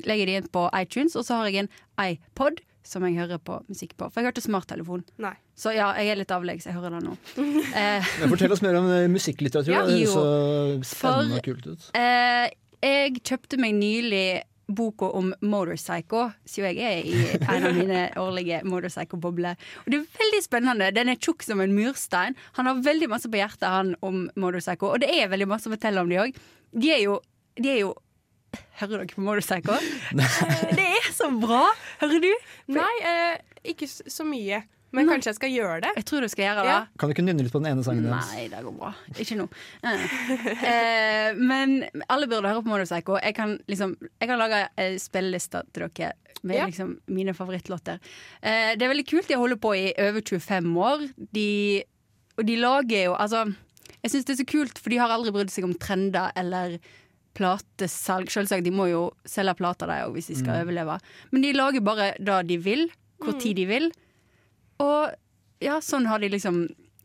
Speaker 3: legger jeg de inn på iTunes, og så har jeg en iPod som jeg hører på musikk på. For jeg har ikke smarttelefon.
Speaker 1: Nei.
Speaker 3: Så ja, jeg er litt avleggs, jeg hører det nå. Eh,
Speaker 4: Men fortell oss mer om eh, musikklitteratur.
Speaker 3: Ja,
Speaker 4: da. det
Speaker 3: jo.
Speaker 4: høres så spennende
Speaker 3: For-
Speaker 4: og kult ut.
Speaker 3: Eh, jeg kjøpte meg nylig boka om Motorpsycho, siden jeg er i en av mine årlige Motorpsycho-bobler. Og det er veldig spennende. Den er tjukk som en murstein. Han har veldig masse på hjertet, han om Motorpsycho. Og det er veldig masse å fortelle om de òg. De er jo, de er jo Hører dere på Motorpsycho? det er så bra! Hører du?
Speaker 1: Nei, eh, ikke s- så mye. Men kanskje jeg skal gjøre det.
Speaker 3: Jeg tror du skal gjøre det.
Speaker 1: Ja.
Speaker 4: Kan du ikke nynne litt på den ene sangen deres?
Speaker 3: Nei, det går bra. Ikke nå. Eh, men alle burde høre på Motorpsycho. Jeg kan, liksom, jeg kan lage eh, spillelister til dere med
Speaker 1: Ja.
Speaker 3: liksom, mine favorittlåter. Eh, det er veldig kult. De holder på i over 25 år. De, og de lager jo Altså, jeg syns det er så kult, for de har aldri brydd seg om trender eller platesalg. Selvsagt, de må jo selge plater der òg hvis de skal overleve. Men de lager bare det de vil, hvor tid de vil. Og ja, sånn har de liksom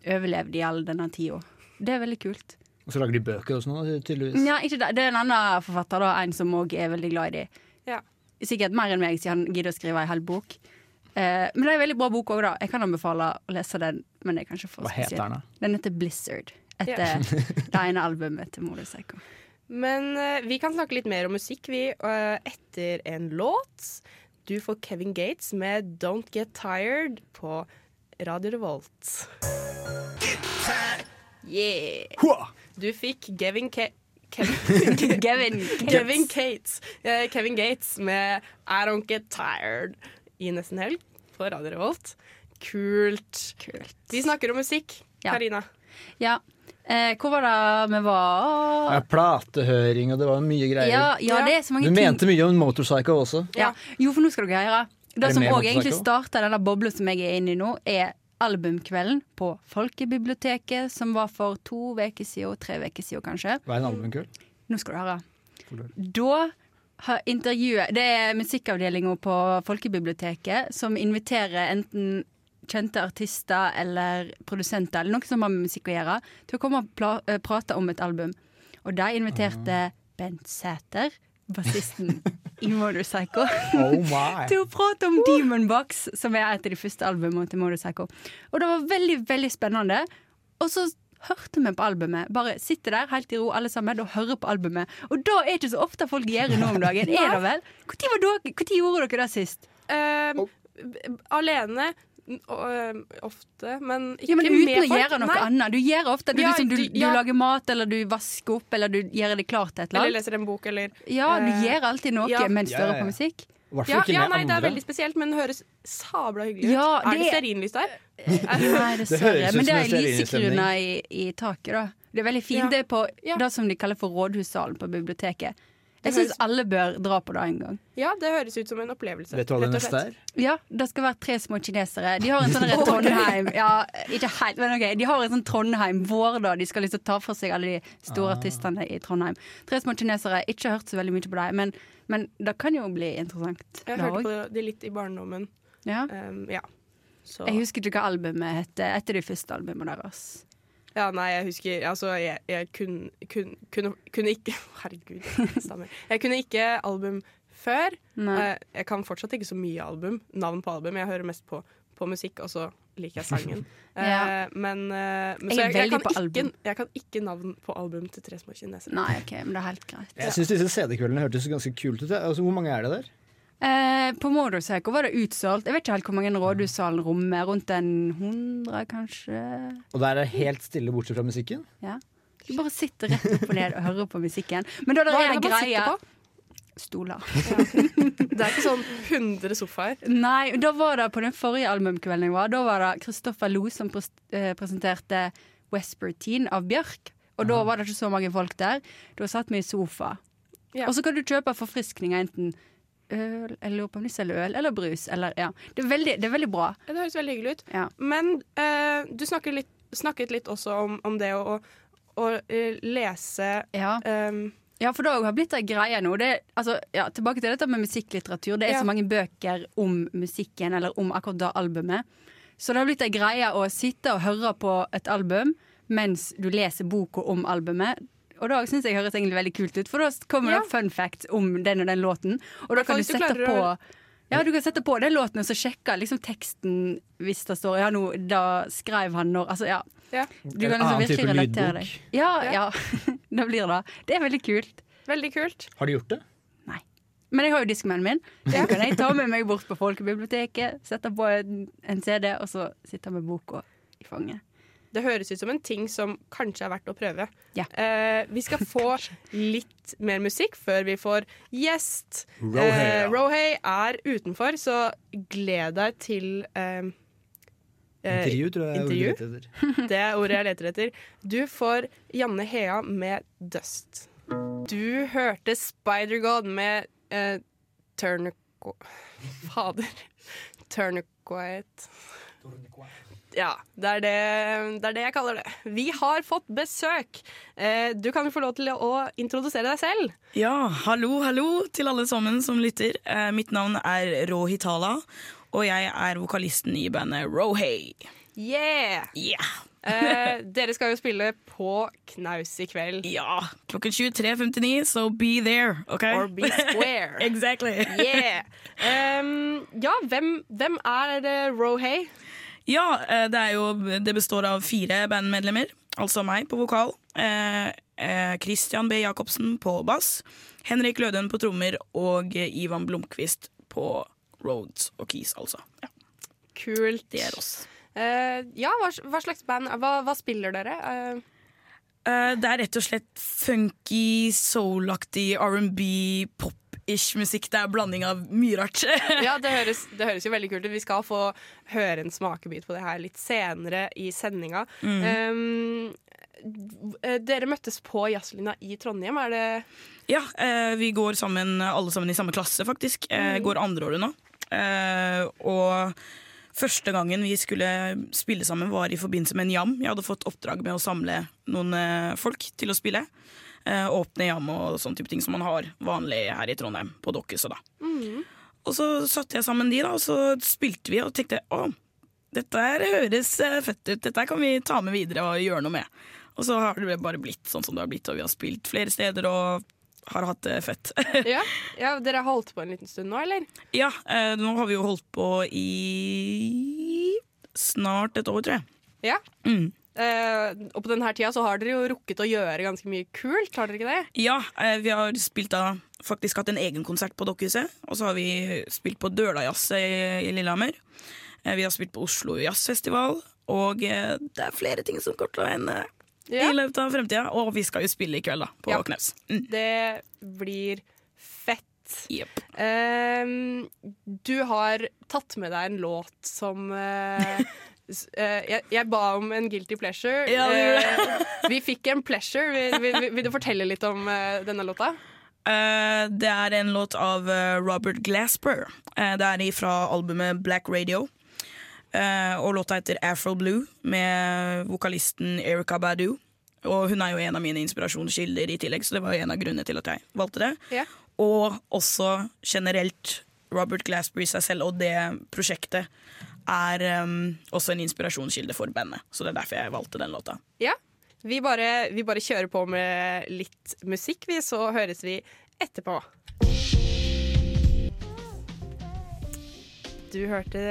Speaker 3: overlevd i all denne tida. Det er veldig kult.
Speaker 4: Og så lager de bøker og sånn også, tydeligvis.
Speaker 3: Nja, ikke det. det er en annen forfatter, da, en som òg er veldig glad i de.
Speaker 1: Ja.
Speaker 3: Sikkert mer enn meg, siden han gidder å skrive ei hel bok. Eh, men det er en veldig bra bok òg, da. Jeg kan anbefale å lese den. Men det er kanskje for
Speaker 4: Hva heter
Speaker 3: spesielt.
Speaker 4: den, da?
Speaker 3: Den heter Blizzard. Etter det ene albumet til Modus Echo.
Speaker 1: Men eh, vi kan snakke litt mer om musikk, vi, eh, etter en låt. Du får Kevin Gates med 'Don't Get Tired' på Radio Revolt. Yeah! Du fikk Gavin Ke... Kevin,
Speaker 3: Gavin
Speaker 1: Kevin Gates. eh, Kevin Gates med 'I Don't Get Tired' i nesten helg på Radio Revolt. Kult.
Speaker 3: Kult.
Speaker 1: Vi snakker om musikk.
Speaker 3: Ja.
Speaker 1: Karina.
Speaker 3: Ja. Eh, hvor var det vi var?
Speaker 4: Ja, platehøring, og det var mye greier.
Speaker 3: Ja, ja, det er så mange
Speaker 4: Du
Speaker 3: ting.
Speaker 4: mente mye om Motorcycle også.
Speaker 3: Ja. Jo, for nå skal dere høre. Det
Speaker 4: det
Speaker 3: som
Speaker 4: mer
Speaker 3: òg egentlig
Speaker 4: motorsaker?
Speaker 3: starta denne bobla som jeg er inne i nå, er albumkvelden på Folkebiblioteket, som var for to uker siden, tre uker siden kanskje.
Speaker 4: Hva er en albumkull?
Speaker 3: Nå skal du høre. Da har intervjuet Det er musikkavdelinga på Folkebiblioteket som inviterer enten kjente artister eller produsenter eller noen som har med musikk å gjøre, til å komme og pla eh, prate om et album. Og de inviterte Bent Sæter, bassisten i Motorcycle
Speaker 4: Oh my!
Speaker 3: til å prate om Demon Box, som er et av de første albumene til Motorcycle. Og det var veldig, veldig spennende. Og så hørte vi på albumet. Bare sitter der helt i ro alle sammen og hører på albumet. Og da er ikke så ofte folk gjør det nå om dagen. Er det vel? Når var dere- hvor tid gjorde dere det sist?
Speaker 1: Ehm, b- b- Alene n- og, ehm, ofte, men ikke
Speaker 3: Ja, men uten
Speaker 1: med
Speaker 3: å
Speaker 1: folk.
Speaker 3: gjøre noe
Speaker 1: Nei.
Speaker 3: annet. Du gjør ofte du,
Speaker 1: Ja,
Speaker 3: liksom, du,
Speaker 1: du-
Speaker 3: du
Speaker 1: ja.
Speaker 3: lager mat, eller du vasker opp, eller du gjør det klart til et
Speaker 1: Eller
Speaker 3: eller annet.
Speaker 1: leser en bok, eller
Speaker 3: Ja, du
Speaker 1: eh,
Speaker 3: gjør alltid noe
Speaker 1: ja.
Speaker 3: mens du
Speaker 4: Ja, ja,
Speaker 3: hører
Speaker 4: ja.
Speaker 3: på musikk.
Speaker 4: I hvert fall
Speaker 1: ja,
Speaker 4: ikke
Speaker 1: ja,
Speaker 4: med
Speaker 1: nei, det er
Speaker 4: andre.
Speaker 1: veldig spesielt, men det høres sabla hyggelig ut.
Speaker 3: Ja,
Speaker 1: er det
Speaker 3: det-
Speaker 1: stearinlys der?
Speaker 3: Nei,
Speaker 4: høres
Speaker 3: dessverre.
Speaker 4: ut
Speaker 3: Men det
Speaker 4: som en
Speaker 3: er lysekrona i, i
Speaker 4: stearinlystemning.
Speaker 3: taket, da. Det er veldig fint.
Speaker 1: Ja.
Speaker 3: Det er på
Speaker 1: Ja.
Speaker 3: det som de kaller for rådhussalen på biblioteket. Jeg
Speaker 1: Det
Speaker 3: syns
Speaker 1: høres-
Speaker 3: alle bør dra på det en gang.
Speaker 1: Ja, det høres ut som en opplevelse.
Speaker 4: Vet du hva
Speaker 1: rett
Speaker 4: det
Speaker 1: og
Speaker 4: neste
Speaker 1: slett.
Speaker 4: er?
Speaker 3: Ja, det skal være tre små kinesere. De har en sånn der Trondheim ja, ikke helt, men ok, De har en sånn Trondheim-vår, da. De skal liksom ta for seg alle de store artistene i Trondheim. Tre små kinesere. Ikke hørt så veldig mye på dem, men, men det kan jo bli interessant.
Speaker 1: Jeg
Speaker 3: det
Speaker 1: hørte
Speaker 3: også.
Speaker 1: på det litt i barndommen.
Speaker 3: Ja.
Speaker 1: Ehm, ja. Så.
Speaker 3: Jeg husker ikke hva albumet heter etter de første albumene deres.
Speaker 1: ja, nei, jeg husker Altså, jeg, jeg kun, kun, kunne, kunne ikke Herregud, jeg stammer. Jeg kunne ikke album før.
Speaker 3: Nei.
Speaker 1: Eh, Jeg kan fortsatt ikke så mye album. Navn på album. Jeg hører mest på, på musikk, og så liker jeg sangen. Eh,
Speaker 3: Ja.
Speaker 1: Men, eh, men
Speaker 3: Jeg
Speaker 1: så
Speaker 3: er
Speaker 1: jeg, jeg,
Speaker 3: veldig
Speaker 1: kan
Speaker 3: på
Speaker 1: ikke,
Speaker 3: album.
Speaker 1: jeg kan ikke navn på album til Tre små kinesere.
Speaker 3: Nei, ok, men det er helt greit.
Speaker 4: Jeg syns disse CD-kveldene hørtes ganske kult ut. jeg. Altså, hvor mange er det der?
Speaker 3: Eh, på Motorcycle var det utsolgt. Jeg vet ikke helt hvor mange rådhussalen rommer. Rundt en hundre, kanskje.
Speaker 4: Og der er det helt stille bortsett fra musikken?
Speaker 3: Ja. Du bare sitter rett opp og ned og hører på musikken. Men da der
Speaker 1: Hva
Speaker 3: er
Speaker 1: er
Speaker 3: det
Speaker 1: det man
Speaker 3: greia
Speaker 1: sitter på?
Speaker 3: Stoler.
Speaker 1: Det er ikke sånn 100 sofaer.
Speaker 3: Nei, da var det på den forrige albumkvelden jeg var. Da var det Kristoffer Lo som pres eh, presenterte Westbertine av Bjørk. Og da var det ikke så mange folk der. Da satt vi i sofa.
Speaker 1: Ja.
Speaker 3: Og så kan du kjøpe forfriskninger enten øl, eller lurer på om de selger øl, eller brus. Eller, ja. det, er veldig, det er veldig bra.
Speaker 1: Det høres veldig hyggelig ut.
Speaker 3: Ja.
Speaker 1: Men eh, du snakker litt, snakket litt også om, om det å, å, å eh, lese
Speaker 3: Ja.
Speaker 1: ehm,
Speaker 3: Ja, for det har blitt ei greie nå. Det, er- altså, ja, tilbake til dette med musikklitteratur. Det er
Speaker 1: Ja.
Speaker 3: så mange bøker om musikken, eller om akkurat det albumet. Så det har blitt ei greie å sitte og høre på et album mens du leser boka om albumet. Og det syns jeg høres egentlig veldig kult ut, for da kommer
Speaker 1: Ja.
Speaker 3: det opp fun facts om den og den låten. Og da
Speaker 1: fall
Speaker 3: kan du
Speaker 1: hvis du
Speaker 3: sette
Speaker 1: klarer
Speaker 3: på
Speaker 1: å-
Speaker 3: ja, du kan sette på den låten og så sjekke liksom teksten hvis det står Ja, nå, da skrev han når Altså, ja.
Speaker 1: Ja.
Speaker 3: Du kan
Speaker 4: En
Speaker 3: liksom
Speaker 4: annen type
Speaker 3: virkelig relatere deg.
Speaker 4: lydbok.
Speaker 3: Ja, ja. det blir det. Det er veldig kult.
Speaker 1: Veldig kult.
Speaker 4: Har de gjort det?
Speaker 3: Nei. Men jeg har jo diskmannen min. Den kan jeg ta med meg bort på folkebiblioteket, sette på en, en CD, og så sitte med boka i fanget.
Speaker 1: Det høres ut som en ting som kanskje er verdt å prøve.
Speaker 3: Ja.
Speaker 1: Eh, vi skal få litt mer musikk før vi får gjest.
Speaker 4: Rohei, ja.
Speaker 1: Rohei er utenfor, så gled deg til eh, eh,
Speaker 4: Intervju, tror jeg.
Speaker 1: intervju?
Speaker 4: jeg gjorde litt etter.
Speaker 1: Det er ordet jeg leter etter. Du får Janne Hea med 'Dust'. Du hørte Spider-God med uh, Turnico... Fader. Turniquite. Ja, det er det, det er det jeg kaller det. Vi har fått besøk. Eh, Du kan jo få lov til å introdusere deg selv.
Speaker 7: Ja, hallo, hallo til alle sammen som lytter. Eh, mitt navn er Rohitala, og jeg er vokalisten i bandet Rohei.
Speaker 1: Yeah!
Speaker 7: Yeah.
Speaker 1: Eh, Dere skal jo spille på knaus i kveld.
Speaker 7: Ja, klokken 23.59, so be there, OK?
Speaker 1: Or be square.
Speaker 7: exactly.
Speaker 1: Yeah! Em, Um, ja, hvem, hvem er eh, Rohei?
Speaker 7: Ja, eh, det, er jo, det består av fire bandmedlemmer, altså meg på vokal. eh, eh, Christian B. Jacobsen på bass. Henrik Løden på trommer og eh, Ivan Blomkvist på Roads og Keys, altså. Ja,
Speaker 1: Kult.
Speaker 7: det er oss.
Speaker 1: Eh, ja, hva, hva slags band Hva, hva spiller dere? Eh,
Speaker 7: Eh, det er rett og slett funky, soulaktig, R&B, pop-ish musikk. Det er blanding av mye rart.
Speaker 1: ja, det høres, det høres jo veldig kult ut. Vi skal få høre en smakebit på det her litt senere i sendinga. Em, d- eh, dere møttes på Jazzlina i Trondheim, er det
Speaker 7: ja, eh, vi går sammen, alle sammen i samme klasse, faktisk. Eh, går andreåret nå. Eh, og første gangen vi skulle spille sammen, var i forbindelse med en jam. Jeg hadde fått oppdrag med å samle noen eh, folk til å spille. Eh, åpne jam og sånne type ting som man har vanlig her i Trondheim, på Dokkhuset, da. Og så satte jeg sammen de, da, og så spilte vi og tenkte å, dette her høres eh, fett ut, dette her kan vi ta med videre og gjøre noe med. Og så har det bare blitt sånn som det har blitt, og vi har spilt flere steder og har hatt eh, det fett.
Speaker 1: ja. ja, dere har holdt på en liten stund nå, eller?
Speaker 7: ja, eh, nå har vi jo holdt på i snart et år, tror jeg.
Speaker 1: Ja.
Speaker 7: Mm.
Speaker 1: Eh, og på denne tida så har dere jo rukket å gjøre ganske mye kult, har dere ikke det?
Speaker 7: Ja, eh, vi har spilt da faktisk hatt en egen konsert på Dokkhuset. Og så har vi spilt på Dølajazz i, i Lillehammer. Eh, Vi har spilt på Oslo Jazzfestival. Og eh, det er flere ting som kommer til å hende
Speaker 1: Ja.
Speaker 7: i løpet av fremtida. Og vi skal jo spille i kveld, da, på
Speaker 1: Ja.
Speaker 7: Knaus. Mm.
Speaker 1: Det blir fett.
Speaker 7: Jepp.
Speaker 1: Ehm, du har tatt med deg en låt som eh, s- eh, jeg, jeg ba om en guilty pleasure.
Speaker 7: Ja, du gjorde
Speaker 1: Eh, vi fikk en pleasure. Vil, vil, vil, vil du fortelle litt om eh, denne låta?
Speaker 7: Eh, Det er en låt av eh, Robert Glasper. Eh, Det er fra albumet Black Radio. Eh, Og låta heter Afro Blue, med vokalisten Erika Badu. Og hun er jo en av mine inspirasjonskilder i tillegg, så det var jo en av grunnene til at jeg valgte det.
Speaker 1: Ja.
Speaker 7: Og også generelt Robert Glasper i seg selv og det prosjektet er eh, også en inspirasjonskilde for bandet. Så det er derfor jeg valgte den låta.
Speaker 1: Ja. Vi bare, vi bare kjører på med litt musikk, vi, så høres vi etterpå. Du hørte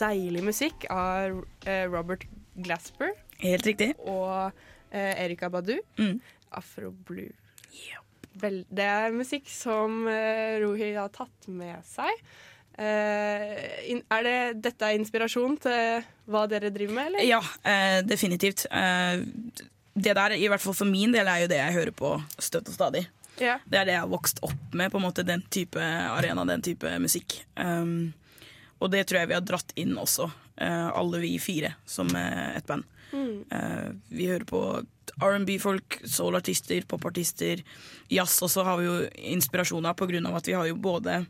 Speaker 1: deilig musikk av eh, Robert Glasper
Speaker 7: Helt riktig.
Speaker 1: og eh, Erika Badu.
Speaker 7: Mm.
Speaker 1: Afro Blue. Vel, det er musikk som eh, Rohi har tatt med seg. Eh, in, er det, dette er inspirasjon til hva dere driver med, eller?
Speaker 7: Ja, eh, definitivt. Eh, det der, i hvert fall for min del, er jo det jeg hører på støtt og stadig.
Speaker 1: Ja.
Speaker 7: Det er det jeg har vokst opp med, på en måte, den type arena, den type musikk. Um, og det tror jeg vi har dratt inn også, eh, alle vi fire, som eh, et band. Eh, vi hører på R&B-folk, soul-artister, popartister, jazz også har vi jo inspirasjon av, på grunn av at vi har jo både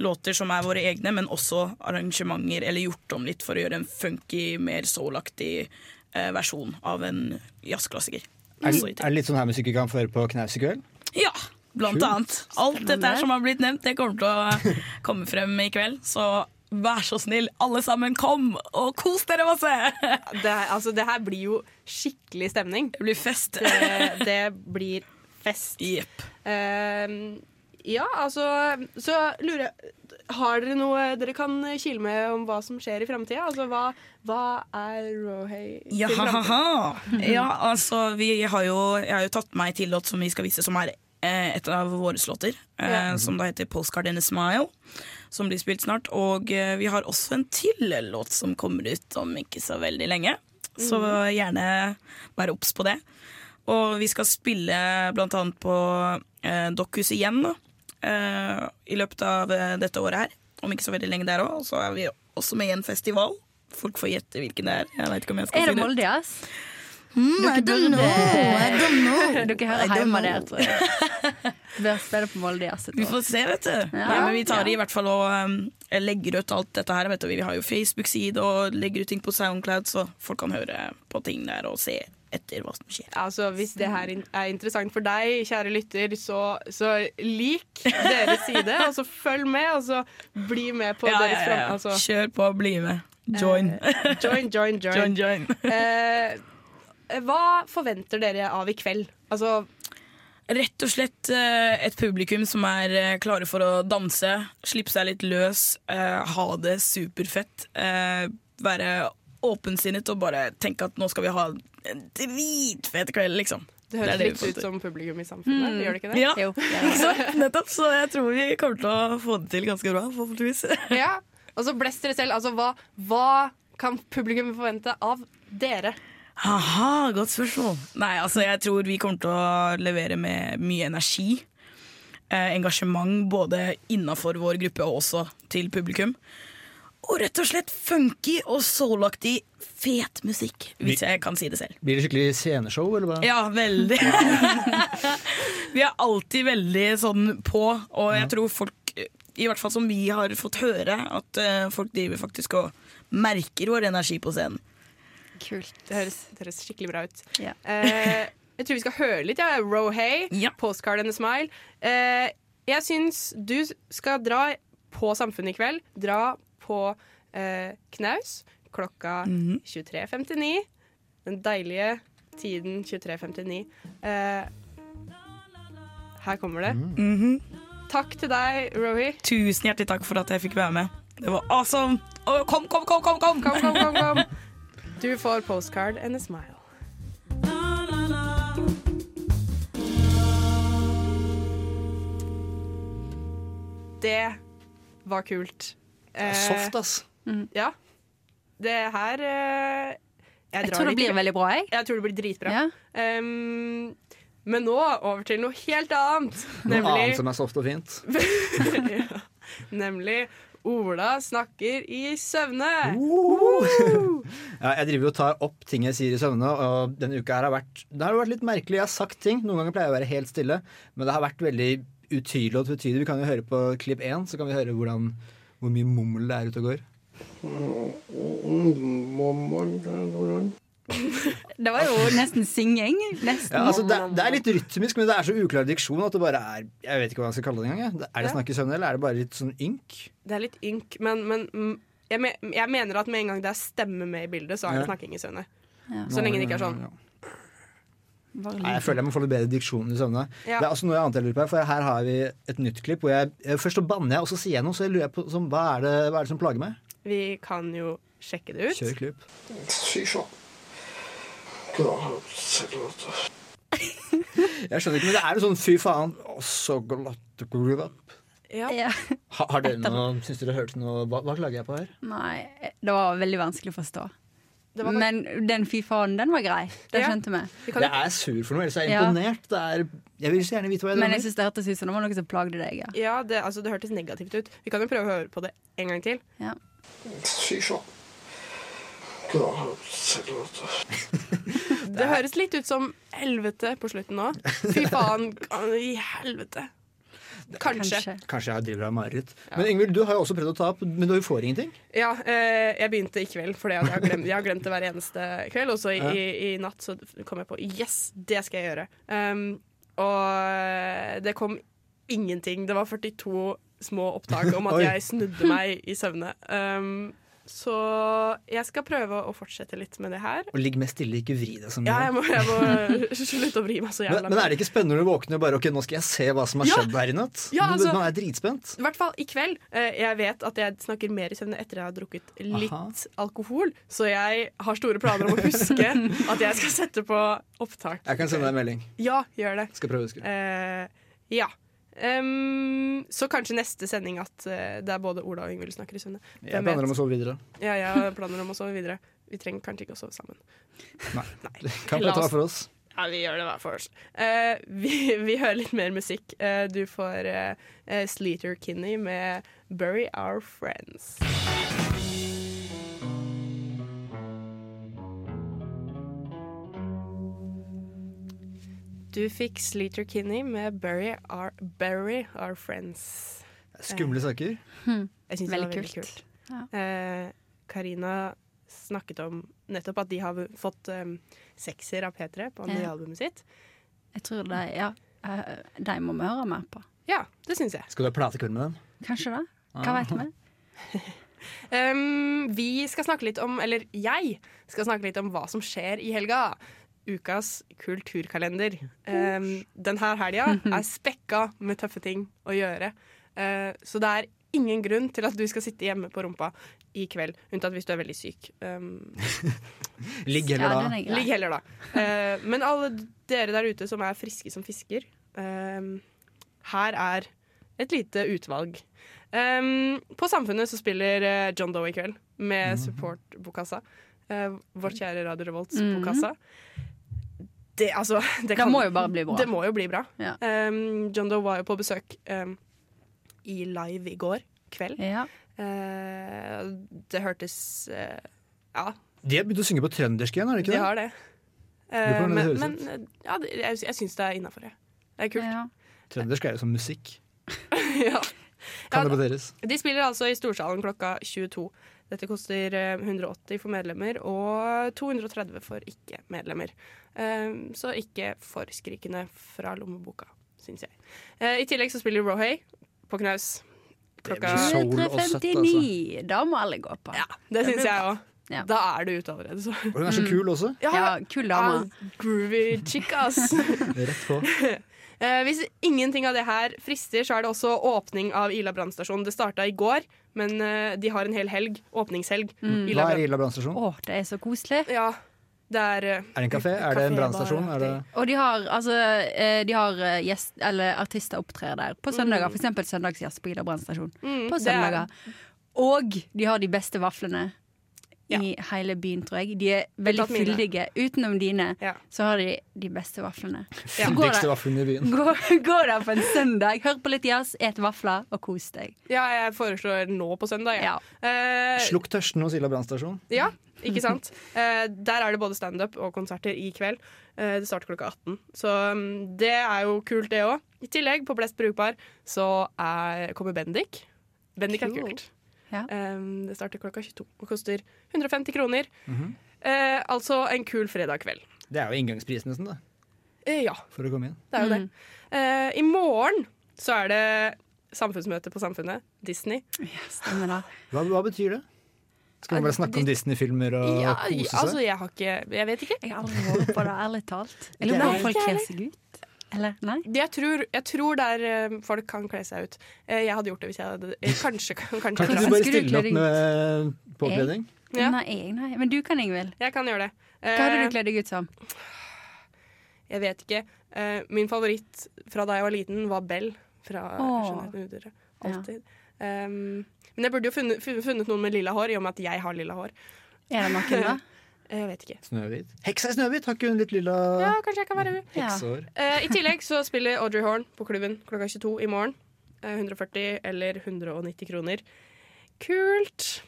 Speaker 7: låter som er våre egne, men også arrangementer, eller gjort om litt for å gjøre en funky, mer soul-aktig eh, versjon av en jazzklassiker.
Speaker 4: Er,
Speaker 7: Altså i
Speaker 4: er det litt sånn her musikk vi kan få høre på knaus i kveld?
Speaker 7: ja, blant annet. Alt dette her som har blitt nevnt, det kommer til å komme frem i kveld. Så vær så snill, alle sammen, kom og kos dere masse!
Speaker 1: Det, er- altså, det her blir jo skikkelig stemning.
Speaker 7: Det blir fest.
Speaker 1: Det, det blir fest.
Speaker 7: Jepp.
Speaker 1: Ehm, ja, altså Så lurer jeg Har dere noe dere kan kile med om hva som skjer i framtida? Altså, hva, hva er Rohei
Speaker 7: Ja,
Speaker 1: sin
Speaker 7: ha, ha,
Speaker 1: fremtid?
Speaker 7: ha. ja, altså, vi har jo, jeg har jo tatt meg til låt som vi skal vise, som er eh, et av våre låter. Eh,
Speaker 1: Ja.
Speaker 7: Som da heter 'Postcard and a Smile', som blir spilt snart. Og eh, vi har også en til låt som kommer ut om ikke så veldig lenge. Så gjerne være obs på det. Og vi skal spille blant annet på eh, Dokkhuset igjen da, eh, i løpet av eh, dette året her. Om ikke så veldig lenge der òg. Og så er vi også med i en festival. Folk får gjette hvilken det Mm, er. Jeg vet ikke om jeg skal
Speaker 3: Er det
Speaker 7: si det.
Speaker 3: Molde, ass? Dere
Speaker 8: I don't know, I don't know.
Speaker 3: Dere
Speaker 8: I
Speaker 3: hører
Speaker 8: don't
Speaker 3: hjemme
Speaker 8: know.
Speaker 3: der, tror jeg. Bør spille på Molde Jazz. et
Speaker 7: Vi
Speaker 3: år.
Speaker 7: får se, vet du.
Speaker 3: Ja,
Speaker 7: Nei, men vi tar det
Speaker 3: ja.
Speaker 7: i hvert fall og um, legger ut alt dette her. Vet du. Vi har jo Facebook-side og legger ut ting på Soundcloud, så folk kan høre på ting der og se etter hva som skjer.
Speaker 1: Altså, hvis det her in- er interessant for deg, kjære lytter, så, så lik deres side, og så følg med, og så bli med på
Speaker 7: Ja, ja,
Speaker 1: deres
Speaker 7: ja,
Speaker 1: fram...
Speaker 7: ja.
Speaker 1: Altså,
Speaker 7: Kjør på, bli med. Join.
Speaker 1: eh, join, join, join.
Speaker 7: Join, join.
Speaker 1: Eh, hva forventer dere av i kveld? Altså,
Speaker 7: Rett og slett eh, et publikum som er eh, klare for å danse, slippe seg litt løs, eh, ha det superfett. eh, Være åpensinnet og bare tenke at nå skal vi ha en dritfet kveld, liksom.
Speaker 1: det høres
Speaker 7: er vi
Speaker 1: litt
Speaker 7: får
Speaker 1: ut
Speaker 7: til.
Speaker 1: som publikum i samfunnet,
Speaker 7: Mm.
Speaker 1: gjør det ikke det?
Speaker 7: Ja. Ikke sant? Nettopp, så jeg tror vi kommer til å få det til ganske bra, forhåpentligvis.
Speaker 1: Ja. Og så bless dere selv. Altså, hva, hva kan publikum forvente av dere?
Speaker 7: Haha, godt spørsmål. Nei, altså jeg tror vi kommer til å levere med mye energi. Eh, engasjement både innafor vår gruppe og også til publikum. Og rett og slett funky og soulaktig fet musikk, hvis jeg kan si det selv.
Speaker 4: Blir det skikkelig sceneshow, eller hva?
Speaker 7: Ja, veldig. vi er alltid veldig sånn på, og jeg tror folk, i hvert fall som vi har fått høre, at eh, folk driver faktisk og merker vår energi på scenen.
Speaker 3: Kult.
Speaker 1: Det høres, det høres skikkelig bra ut.
Speaker 3: Ja.
Speaker 1: Eh, jeg tror vi skal høre litt. Ja. Rohay, Postcard and a Smile. Eh, jeg syns du skal dra på Samfunnet i kveld. Dra på eh, Knaus klokka 23.59. Den deilige tiden 23.59. Eh, her kommer det. Takk til deg, Rohi.
Speaker 7: Tusen hjertelig takk for at jeg fikk være med. Det var awesome! Å, kom, kom, kom, kom! kom.
Speaker 1: Kom, kom, kom, kom. Du får Postcard and a Smile. Det var kult. Eh,
Speaker 4: Soft, ass.
Speaker 1: Ja. Det her eh,
Speaker 3: Jeg
Speaker 1: drar
Speaker 3: tror det
Speaker 1: dit,
Speaker 3: blir
Speaker 1: ikke?
Speaker 3: veldig bra, jeg.
Speaker 1: Jeg tror det blir dritbra. Um, men nå over til noe helt annet.
Speaker 4: Noe annet
Speaker 1: Nemlig,
Speaker 4: som er soft og fint.
Speaker 1: nemlig Ola snakker i søvne.
Speaker 3: Oh.
Speaker 4: Ja, jeg driver jo og tar opp ting jeg sier i søvne, og denne uka her har vært, det har vært litt merkelig. Jeg har sagt ting, noen ganger pleier jeg å være helt stille, men det har vært veldig utydelig og tvetydig. Vi kan jo høre på klipp én, så kan vi høre hvordan, hvor mye mummel det er ute og går.
Speaker 3: Det var jo nesten synging. Nesten.
Speaker 4: Ja, altså det, det er litt rytmisk, men det er så uklar diksjon at det bare er Jeg vet ikke hva jeg skal kalle det engang. jeg. Er det
Speaker 1: Ja.
Speaker 4: snakk i søvne, eller er det bare litt sånn ynk?
Speaker 1: Det er litt ynk, men, men mm, jeg, me jeg mener at med en gang det er stemme med i bildet, så er det
Speaker 4: Ja.
Speaker 1: snakking i søvne.
Speaker 3: Ja.
Speaker 1: Så lenge det ikke er sånn.
Speaker 4: Nei, jeg føler jeg må få litt bedre diksjon i søvne.
Speaker 1: Ja.
Speaker 4: Det er også noe jeg annet jeg lurer på, her, for her har vi et nytt klipp hvor jeg, eh, først så banner jeg, og så sier jeg noe, så jeg lurer på sånn, hva, er det, hva er det som plager meg?
Speaker 1: Vi kan jo sjekke det ut.
Speaker 4: Kjør klipp. Jeg skjønner ikke, men det er jo sånn fy faen, å, så glatt groove up.
Speaker 1: Ja.
Speaker 3: Ja.
Speaker 4: Ha, har dere noe, syns dere hørte noe, hva, hva klager jeg på her?
Speaker 3: Nei, det var veldig vanskelig å forstå.
Speaker 1: Det var-
Speaker 3: Men den fy faen, den var grei. Den
Speaker 1: Ja.
Speaker 3: skjønte vi.
Speaker 1: Vi kan
Speaker 4: Jeg
Speaker 1: jo,
Speaker 4: er sur for noe, ellers er jeg
Speaker 3: Ja.
Speaker 4: imponert. Det er, jeg vil så gjerne vite hva jeg
Speaker 3: Men jeg
Speaker 4: drømmer.
Speaker 3: syns det hørtes ut som det var noe som plagde deg. Ja.
Speaker 1: ja, det, altså, det hørtes negativt ut. Vi kan jo prøve å høre på det en gang til.
Speaker 3: Ja.
Speaker 1: Det høres litt ut som helvete på slutten nå. Fy faen, i helvete. Kanskje.
Speaker 3: Kanskje.
Speaker 4: Kanskje jeg driver av mareritt. Men Ingvild, du har jo også prøvd å ta opp, men du får ingenting.
Speaker 1: Ja, eh, jeg begynte i kveld, for jeg, har glemt- jeg har glemt det hver eneste kveld. Og så i, i, i natt så kom jeg på Yes, det skal jeg gjøre. Um, og det kom ingenting. Det var 42 små opptak om at
Speaker 4: Oi.
Speaker 1: jeg snudde meg i søvne. Um, så jeg skal prøve å fortsette litt med det her.
Speaker 4: Og ligg mest stille, ikke vri deg så mye.
Speaker 1: Ja, jeg må, jeg må slutte å vri meg så
Speaker 4: men,
Speaker 1: jævla
Speaker 4: men er det ikke spennende når du våkner og bare ok, nå skal jeg se hva som har
Speaker 1: Ja!
Speaker 4: skjedd her i natt?
Speaker 1: Ja,
Speaker 4: Du-
Speaker 1: altså-
Speaker 4: Man er dritspent.
Speaker 1: I hvert fall i kveld. Eh, Jeg vet at jeg snakker mer i søvne etter jeg har drukket litt
Speaker 4: Aha.
Speaker 1: alkohol, så jeg har store planer om å huske at jeg skal sette på opptak.
Speaker 4: Jeg kan sende deg en melding.
Speaker 1: Ja, gjør det.
Speaker 4: Skal prøve å huske.
Speaker 1: Eh, ja. Ehm, så kanskje neste sending at eh, det er både Ola og Yngvild snakker i søvne.
Speaker 4: Jeg planer om å sove videre.
Speaker 1: Ja, jeg har planer om å sove videre. Vi trenger kanskje ikke å sove sammen.
Speaker 4: Nei. Kan vi
Speaker 1: La
Speaker 4: ta
Speaker 1: oss-
Speaker 4: for oss?
Speaker 1: Ja, vi gjør det hver for oss. Eh, vi, vi hører litt mer musikk. Eh, du får eh, eh, Sleater Kinney med 'Bury Our Friends'. Du fikk Sleater Kinney med Bury Our, Bury Our Friends.
Speaker 4: Skumle
Speaker 1: Eh,
Speaker 4: saker.
Speaker 1: Jeg synes det
Speaker 3: Veldig
Speaker 1: var veldig
Speaker 3: kult.
Speaker 1: kult. Eh, Karina snakket om nettopp at de har fått eh, sekser av P3 på nye
Speaker 3: Ja.
Speaker 1: albumet sitt.
Speaker 3: Jeg tror de, ja, eh, de må vi høre mer på.
Speaker 1: Ja, det syns jeg.
Speaker 4: Skal du ha platekveld med dem?
Speaker 3: Kanskje det. Hva
Speaker 4: Ah.
Speaker 3: vet vi?
Speaker 1: Um, vi skal snakke litt om, eller jeg skal snakke litt om hva som skjer i helga. Ukas kulturkalender. Um, den her helga er spekka med tøffe ting å gjøre. Uh, så det er ingen grunn til at du skal sitte hjemme på rumpa i kveld, unntatt hvis du er veldig syk. Um,
Speaker 4: Ligg heller da.
Speaker 1: Ligg heller da. Eh, men alle dere der ute som er friske som fisker, eh, her er et lite utvalg. Eh, på Samfunnet så spiller eh, John Doe i kveld
Speaker 3: Mm.
Speaker 1: med support-bokassa. Eh, vårt kjære Radio Revolts
Speaker 3: Mhm.
Speaker 1: bokassa. Det, altså, det,
Speaker 3: Det
Speaker 1: kan,
Speaker 3: må jo bare bli bra.
Speaker 1: Det må jo bli bra.
Speaker 3: Ja.
Speaker 1: Eh, John Doe var jo på besøk eh, i Live i går kveld.
Speaker 3: Ja.
Speaker 1: Eh, det hørtes eh, Ja,
Speaker 4: De har begynt å synge på trøndersk igjen, har de ikke
Speaker 1: de
Speaker 4: det?
Speaker 1: har det.
Speaker 4: Lurer på
Speaker 1: Eh,
Speaker 4: hvordan det
Speaker 1: men
Speaker 4: høres
Speaker 1: men eh, ja, det- jeg, jeg syns det er innafor, jeg. Det er kult.
Speaker 4: Trøndersk er jo som musikk.
Speaker 1: Ja.
Speaker 4: Kan
Speaker 1: Ja,
Speaker 4: debatteres.
Speaker 1: De spiller altså i Storsalen klokka 22. Dette koster eh, 180 for medlemmer og 230 for ikke-medlemmer. Eh, Så ikke for skrikende fra lommeboka, syns jeg. Eh, I tillegg så spiller Rohay på knaus klokka
Speaker 4: Soul og søtt, altså.
Speaker 3: 159. Da må alle gå på.
Speaker 1: Det
Speaker 3: blir
Speaker 1: syns jeg òg.
Speaker 3: Ja.
Speaker 1: Da er du ute allerede, så.
Speaker 4: Og hun er så kul også.
Speaker 3: Ja, kul dame.
Speaker 1: ah, Groovy chick, ass.
Speaker 4: Rett på.
Speaker 1: Eh, hvis ingenting av det her frister, så er det også åpning av Ila brannstasjon. Det starta i går, men eh, de har en hel helg. Åpningshelg.
Speaker 3: Mm.
Speaker 4: Hva
Speaker 1: brann-
Speaker 4: er Ila brannstasjon?
Speaker 3: Å, det er så koselig.
Speaker 1: Ja, det er eh,
Speaker 4: Er det en kafé? Er det en brannstasjon? Er det
Speaker 3: Og de har, altså, eh, de har eh, gjest, eller artister opptrer der på søndager. For eksempel søndagsjazz på Ila brannstasjon.
Speaker 1: Mm,
Speaker 3: På
Speaker 1: det er-
Speaker 3: søndager. Og de har de beste vaflene i hele byen, tror jeg. De er veldig
Speaker 1: Unntatt mine.
Speaker 3: fyldige. Utenom dine,
Speaker 1: Ja.
Speaker 3: så har de de beste vaflene.
Speaker 4: ja.
Speaker 3: Så går
Speaker 4: dyktigste
Speaker 3: det-
Speaker 4: vaffelen i byen?
Speaker 3: Gå, gå der på en søndag, hør på litt jazz, et vafler og kos deg.
Speaker 1: Ja, jeg foreslår nå på søndag. Ja. Eh,
Speaker 4: Slukk tørsten hos Ila brannstasjon.
Speaker 1: ja, ikke sant? Eh, der er det både standup og konserter i kveld. Eh, det starter klokka 18. Så mm, det er jo kult, det òg. I tillegg, på Blest brukbar, så er, kommer Bendik. Bendik er
Speaker 3: Kult.
Speaker 1: kult. Eh, det starter klokka 22 og koster 150 kroner.
Speaker 4: Mhm.
Speaker 1: Eh, altså en kul fredag kveld.
Speaker 4: Det er jo inngangspris nesten, da.
Speaker 1: Eh, ja,
Speaker 4: For å komme inn.
Speaker 1: det er jo det. Eh, I morgen så er det samfunnsmøte på Samfunnet. Disney.
Speaker 3: Stemmer det.
Speaker 4: Hva, hva betyr det? Skal man bare snakke om Disney-filmer og
Speaker 1: Ja,
Speaker 4: kose seg?
Speaker 1: altså jeg har ikke Jeg vet ikke.
Speaker 3: Jeg har aldri vært på det, ærlig talt. Jeg
Speaker 4: Det
Speaker 3: lurer
Speaker 4: er
Speaker 3: på om folk
Speaker 1: ikke
Speaker 3: kler
Speaker 1: heller.
Speaker 3: seg ut. Eller nei?
Speaker 1: Jeg tror, jeg tror der eh, folk kan kle seg ut. Eh, jeg hadde gjort det hvis jeg hadde eh, Kanskje. kanskje
Speaker 4: Kan ikke
Speaker 3: Hvordan
Speaker 4: du bare
Speaker 3: skulle du
Speaker 4: stille opp
Speaker 3: kledd
Speaker 4: med påkledning?
Speaker 1: Ja.
Speaker 3: Nei, jeg, nei. Men du kan, Ingvild.
Speaker 1: Jeg kan gjøre det.
Speaker 3: Hva hadde
Speaker 1: Eh,
Speaker 3: du kledd deg ut som?
Speaker 1: Jeg vet ikke. Eh, min favoritt fra da jeg var liten, var Bell fra
Speaker 3: Åh.
Speaker 1: Skjønnheten og udyret. Alltid. Ehm, men jeg burde jo funnet, fun- funnet noen med lilla hår, i og med at jeg har lilla hår. Eh,
Speaker 3: Er det noen, da?
Speaker 1: Jeg vet ikke.
Speaker 4: Snøhvit? Heksa i Snøhvit! Har ikke hun litt lilla
Speaker 1: Ja, kanskje jeg kan være hun.
Speaker 3: Ja.
Speaker 4: heksehår?
Speaker 1: Eh, I tillegg så spiller Audrey Horn på klubben klokka 22 i morgen. Eh, 140 eller 190 kroner. Kult.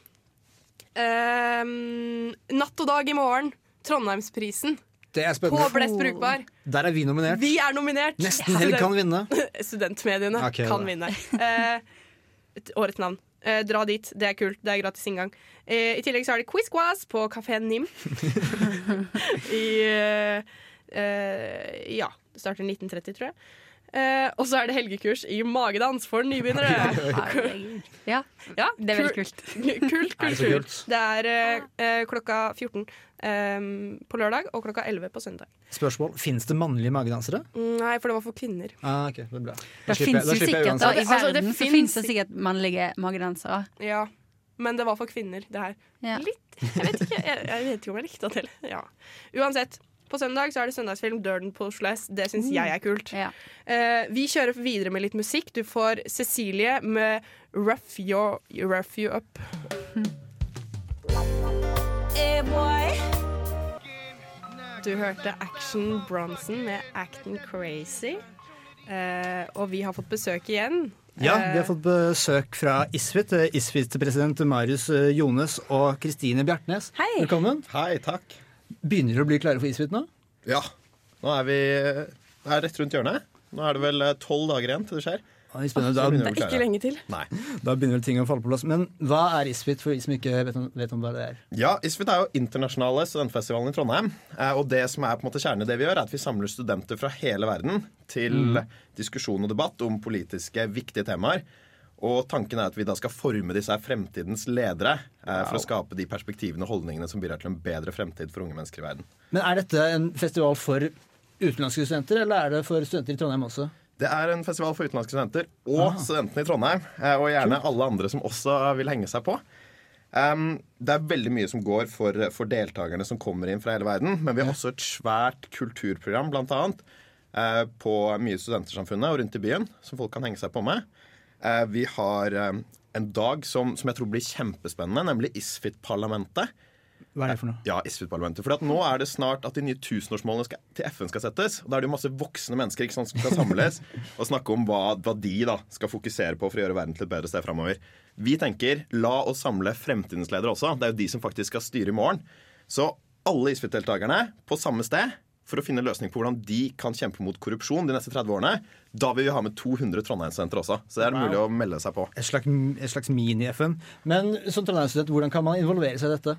Speaker 1: Ehm, natt og dag i morgen. Trondheimsprisen
Speaker 4: Det er
Speaker 1: på
Speaker 4: spennende.
Speaker 1: Blest brukbar.
Speaker 4: Der er vi nominert.
Speaker 1: Vi er nominert!
Speaker 4: Nesten helg kan vinne.
Speaker 1: Studentmediene
Speaker 4: Ok,
Speaker 1: kan
Speaker 4: da.
Speaker 1: vinne. Eh, et- årets navn. Eh, dra dit, det er kult. Det er gratis inngang. Eh, I tillegg så er det Quiz Quaz på Kafé Nim. I eh, eh, Ja. Det starter 1930, tror jeg. Eh, og så er det helgekurs i magedans for nybegynnere.
Speaker 3: Ja,
Speaker 1: ja,
Speaker 3: det er veldig
Speaker 1: kul-
Speaker 3: kult.
Speaker 1: Kult
Speaker 4: Er det så
Speaker 1: kultur.
Speaker 4: kult?
Speaker 1: Det er eh, eh, klokka 14 eh, på lørdag og klokka 11 på søndag.
Speaker 4: Spørsmål Fins det mannlige magedansere?
Speaker 1: Mm, Nei, for det var for kvinner.
Speaker 4: Ah, ok, det er bra.
Speaker 3: Det finnes jo sikkert da,
Speaker 4: uansett.
Speaker 3: I
Speaker 1: Altså, det
Speaker 3: verden så
Speaker 1: finnes-
Speaker 3: finnes det sikkert mannlige magedansere.
Speaker 1: Ja, men det var for kvinner, det her.
Speaker 3: Ja.
Speaker 1: Litt Jeg vet ikke jeg, jeg vet ikke om jeg likte det heller. Ja. Uansett. På søndag så er det søndagsfilm Durden Poshless. Det syns jeg er kult.
Speaker 3: Mm. Ja.
Speaker 1: Eh, vi kjører videre med litt musikk. Du får Cecilie med Rough Your Rough You Up. Du hørte Action Bronson med Actin Crazy. Eh, og vi har fått besøk igjen. Eh,
Speaker 4: Ja,
Speaker 9: Eh.
Speaker 4: vi har fått besøk fra Isfit. eh, Isfit-president Marius eh, Jones og Kristine Bjartnes.
Speaker 9: Hei.
Speaker 4: Velkommen.
Speaker 9: Hei, takk.
Speaker 4: Begynner dere å bli klare for Isfit nå?
Speaker 9: Ja. Nå er vi eh, Det er rett rundt hjørnet. Nå er det vel eh, tolv dager igjen til det skjer.
Speaker 4: Oi, spennende. Da-
Speaker 9: Så begynner vi å bli
Speaker 4: Det er ikke
Speaker 9: klare.
Speaker 2: lenge til.
Speaker 9: Nei.
Speaker 4: Da begynner vel ting å falle på plass. Men hva er ISFIT, for de som ikke vet om, vet om hva det er?
Speaker 9: Ja, ISFIT er jo internasjonale studentfestivalen i Trondheim. Eh, Og det som er på en måte kjernen i det vi gjør, er at vi samler studenter fra hele verden til
Speaker 4: Mm.
Speaker 9: diskusjon og debatt om politiske, viktige temaer. Og tanken er at vi da skal forme disse her fremtidens ledere eh, for å skape de perspektivene og holdningene som bidrar til en bedre fremtid for unge mennesker i verden.
Speaker 4: Men er dette en festival for utenlandske studenter, eller er det for studenter i Trondheim også?
Speaker 9: Det er en festival for utenlandske studenter og studentene i Trondheim. eh, Og gjerne alle andre som også vil henge seg på. Um, det er veldig mye som går for, for deltakerne som kommer inn fra hele verden. Men vi har også et svært kulturprogram, blant annet, eh, på mye i studentersamfunnet og rundt i byen, som folk kan henge seg på med. Eh, vi har eh, en dag som, som jeg tror blir kjempespennende, nemlig ISFIT-parlamentet.
Speaker 4: Hva er det for noe?
Speaker 9: Ja, ISFIT-parlamentet. For at nå er det snart at de nye tusenårsmålene skal, til FN skal settes. Og da er det jo masse voksne mennesker ikke sant, som skal samles og snakke om hva, hva de da skal fokusere på for å gjøre verden til et bedre sted framover. Vi tenker la oss samle fremtidens ledere også. Det er jo de som faktisk skal styre i morgen. Så alle ISFIT-deltakerne på samme sted for å finne en løsning på hvordan de kan kjempe mot korrupsjon de neste 30 årene. Da vil vi ha med 200 Trondheim-sentre også. Så det er
Speaker 4: Wow.
Speaker 9: mulig å melde seg på.
Speaker 4: Et slags, et slags mini-FN. Men som Trondheim-student, hvordan kan man involvere seg i dette?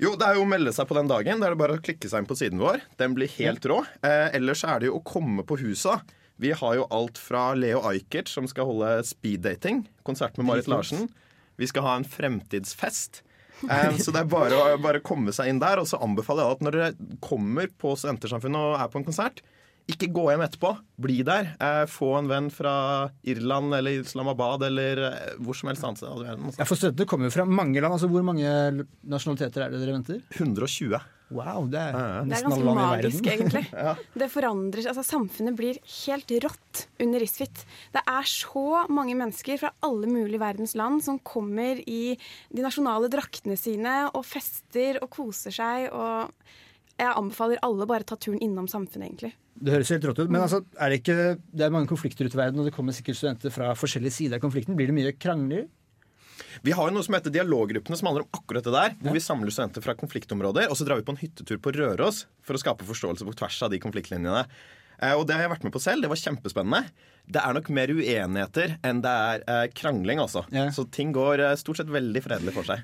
Speaker 9: Jo, det er jo å melde seg på den dagen. Da er det bare å klikke seg inn på siden vår. Den blir helt rå. Eh, ellers er det jo å komme på husa. Vi har jo alt fra Leo Ajkic, som skal holde speeddating, konsert med Marit
Speaker 4: Dritkult.
Speaker 9: Larsen. Vi skal ha en fremtidsfest. Eh, så det er bare å bare komme seg inn der. Og så anbefaler jeg at når dere kommer på Studentersamfunnet og er på en konsert, ikke gå hjem etterpå. Bli der. Eh, få en venn fra Irland eller Islamabad eller eh, hvor som helst annet sted. i verden, altså.
Speaker 4: Ja, for studentene kommer jo fra mange land. altså Hvor mange nasjonaliteter er det dere venter?
Speaker 9: 120.
Speaker 4: Wow, det er
Speaker 6: Det er
Speaker 4: nesten alle
Speaker 6: ganske
Speaker 4: land i verden.
Speaker 6: magisk, egentlig. Det forandrer seg. Altså, samfunnet blir helt rått under Isfit. Det er så mange mennesker fra alle mulige verdens land som kommer i de nasjonale draktene sine og fester og koser seg. Og jeg anbefaler alle bare ta turen innom samfunnet, egentlig.
Speaker 4: Det høres helt rått ut. Men altså, er det, ikke, det er mange konflikter ute i verden, og det kommer sikkert studenter fra forskjellige sider av konflikten. Blir det mye krangler?
Speaker 9: Vi har jo noe som heter Dialoggruppene, som handler om akkurat det der. Hvor vi samler studenter fra konfliktområder, og så drar vi på en hyttetur på Røros for å skape forståelse på tvers av de konfliktlinjene. Eh, Og det har jeg vært med på selv. Det var kjempespennende. Det er nok mer uenigheter enn det er eh, krangling, altså. Så ting går eh, stort sett veldig fredelig for seg.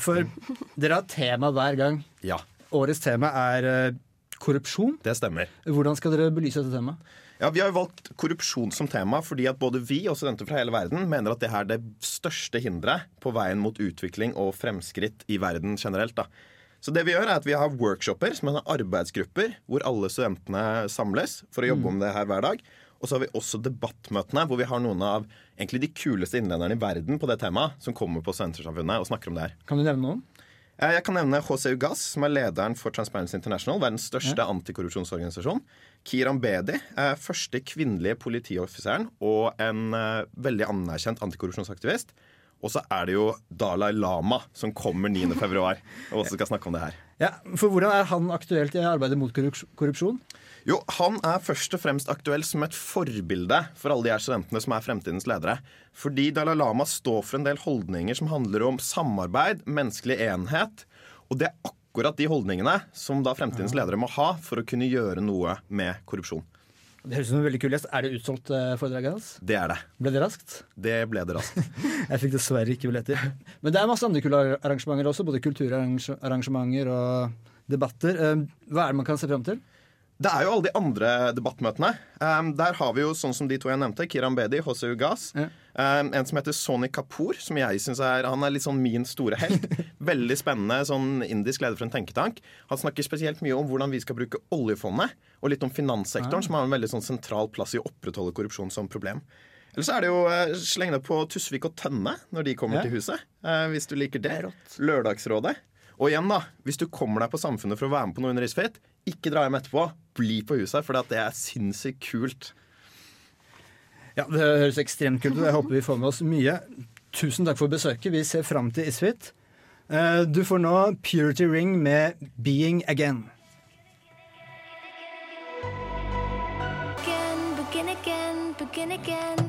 Speaker 4: For dere har tema hver gang.
Speaker 9: Ja.
Speaker 4: Årets tema er eh, korrupsjon.
Speaker 9: Det stemmer.
Speaker 4: Hvordan skal dere belyse dette temaet?
Speaker 9: Ja, Vi har jo valgt korrupsjon som tema fordi at både vi og studenter fra hele verden mener at det er det største hinderet på veien mot utvikling og fremskritt i verden generelt. da. Så det Vi gjør er at vi har workshoper, som er arbeidsgrupper, hvor alle studentene samles for å jobbe om det her hver dag. Og så har vi også debattmøtene, hvor vi har noen av egentlig de kuleste innlederne i verden på det temaet, som kommer på Studentersamfunnet og snakker om det her.
Speaker 4: Kan du nevne noen?
Speaker 9: Eh, Jeg kan nevne HCU Gass, som er lederen for Transparency International, verdens største antikorrupsjonsorganisasjon. Kiran Bedi, eh, første kvinnelige politioffiseren og en eh, veldig anerkjent antikorrupsjonsaktivist. Og så er det jo Dalai Lama, som kommer 9. februar og også skal snakke om det her.
Speaker 4: Ja, For hvordan er han aktuelt i arbeidet mot korrups- korrupsjon?
Speaker 9: Jo, Han er først og fremst aktuell som et forbilde for alle de her studentene som er fremtidens ledere. Fordi Dalai Lama står for en del holdninger som handler om samarbeid, menneskelig enhet. Og det er akkurat de holdningene som da fremtidens ledere må ha for å kunne gjøre noe med korrupsjon.
Speaker 4: Det høres ut som en veldig kul gjest. Er det utsolgt eh, foredraget hans?
Speaker 9: Det er det.
Speaker 4: Ble det raskt?
Speaker 9: Det ble altså. det raskt.
Speaker 4: Jeg fikk dessverre ikke billetter. Men det er masse andre kule arrangementer også, både kulturarrangementer og debatter. Eh, Hva er det man kan se fram til?
Speaker 9: Det er jo alle de andre debattmøtene. Um, der har vi jo sånn som de to jeg nevnte, Kiran Bedi, HCU Gas. Um, en som heter Sony Kapoor, som jeg synes er Han er litt sånn min store helt. Veldig spennende sånn indisk leder for en tenketank. Han snakker spesielt mye om hvordan vi skal bruke oljefondet, og litt om
Speaker 4: Ah.
Speaker 9: finanssektoren, som har en veldig sånn sentral plass i å opprettholde korrupsjon som problem. Eller så er det jo eh, sleng deg på Tusvik og Tønne når de kommer
Speaker 4: Ja.
Speaker 9: til huset. eh, Hvis du liker det. Lørdagsrådet. Og igjen, da. Hvis du kommer deg på Samfunnet for å være med på noe under Isfit, ikke dra hjem etterpå. Bli på huset, for det er sinnssykt kult.
Speaker 4: Ja, Det høres ekstremt kult ut. Jeg håper vi får med oss mye. Tusen takk for besøket. Vi ser fram til Isfit. Eh, Du får nå Purity Ring med 'Being Again'.
Speaker 8: Begin, begin again, begin again.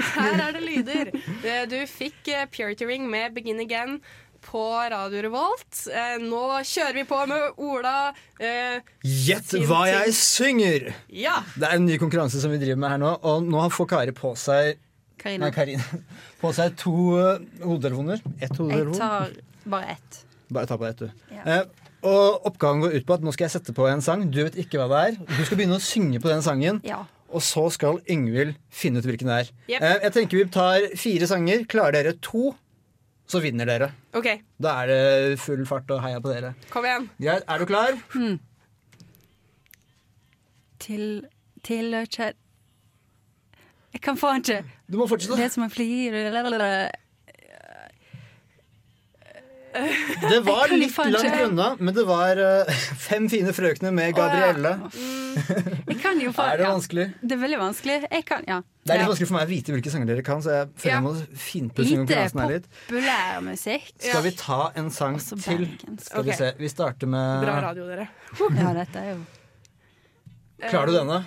Speaker 1: Her er det lyder. Eh, Du fikk eh, Purity Ring med Begin Again. på Radio Revolt. Eh, nå kjører vi på med Ola eh,
Speaker 4: Gjett
Speaker 1: sin
Speaker 4: hva
Speaker 1: ting.
Speaker 4: jeg synger!
Speaker 1: Ja!
Speaker 4: Det er en ny konkurranse som vi driver med her nå, og nå får Kari på seg
Speaker 3: Karina.
Speaker 4: Nei, Karina. På seg to eh, hodetelefoner. Ett
Speaker 3: Jeg
Speaker 4: hodetelefon.
Speaker 3: tar bare ett.
Speaker 4: Bare ta på deg, du.
Speaker 3: Ja.
Speaker 4: Eh, og oppgaven går ut på at nå skal jeg sette på en sang. Du vet ikke hva det er. Du skal begynne å synge på den sangen.
Speaker 3: Ja.
Speaker 4: Og så skal Yngvild finne ut hvilken det er.
Speaker 1: Jep.
Speaker 4: Eh, jeg tenker vi tar fire sanger. Klarer dere to, så vinner dere.
Speaker 1: OK,
Speaker 4: Da er det full fart og heia på dere.
Speaker 1: kom igjen.
Speaker 4: Greit, er du klar?
Speaker 3: Til, til å kjære Jeg kan faen ikke.
Speaker 4: Du må fortsette.
Speaker 3: Det som jeg flyr
Speaker 4: Det
Speaker 3: Jeg
Speaker 4: var
Speaker 3: kan
Speaker 4: litt
Speaker 3: faen ikke.
Speaker 4: langt unna, men det var eh, Fem fine frøkner med Gabrielle.
Speaker 3: Jeg kan jo faen
Speaker 4: Er det vanskelig?
Speaker 3: Ja. Det er veldig vanskelig. Jeg kan, ja.
Speaker 4: Det er litt vanskelig for meg å vite hvilke sanger dere kan, så jeg
Speaker 3: Ja.
Speaker 4: føler jeg må finpusse konkurransen her litt.
Speaker 3: populær musikk.
Speaker 4: Skal vi ta en sang til? Skal vi
Speaker 3: Ok.
Speaker 4: se. Vi starter med
Speaker 3: Bra
Speaker 2: radio, dere.
Speaker 3: Ja, dette er jo
Speaker 4: Klarer du denne?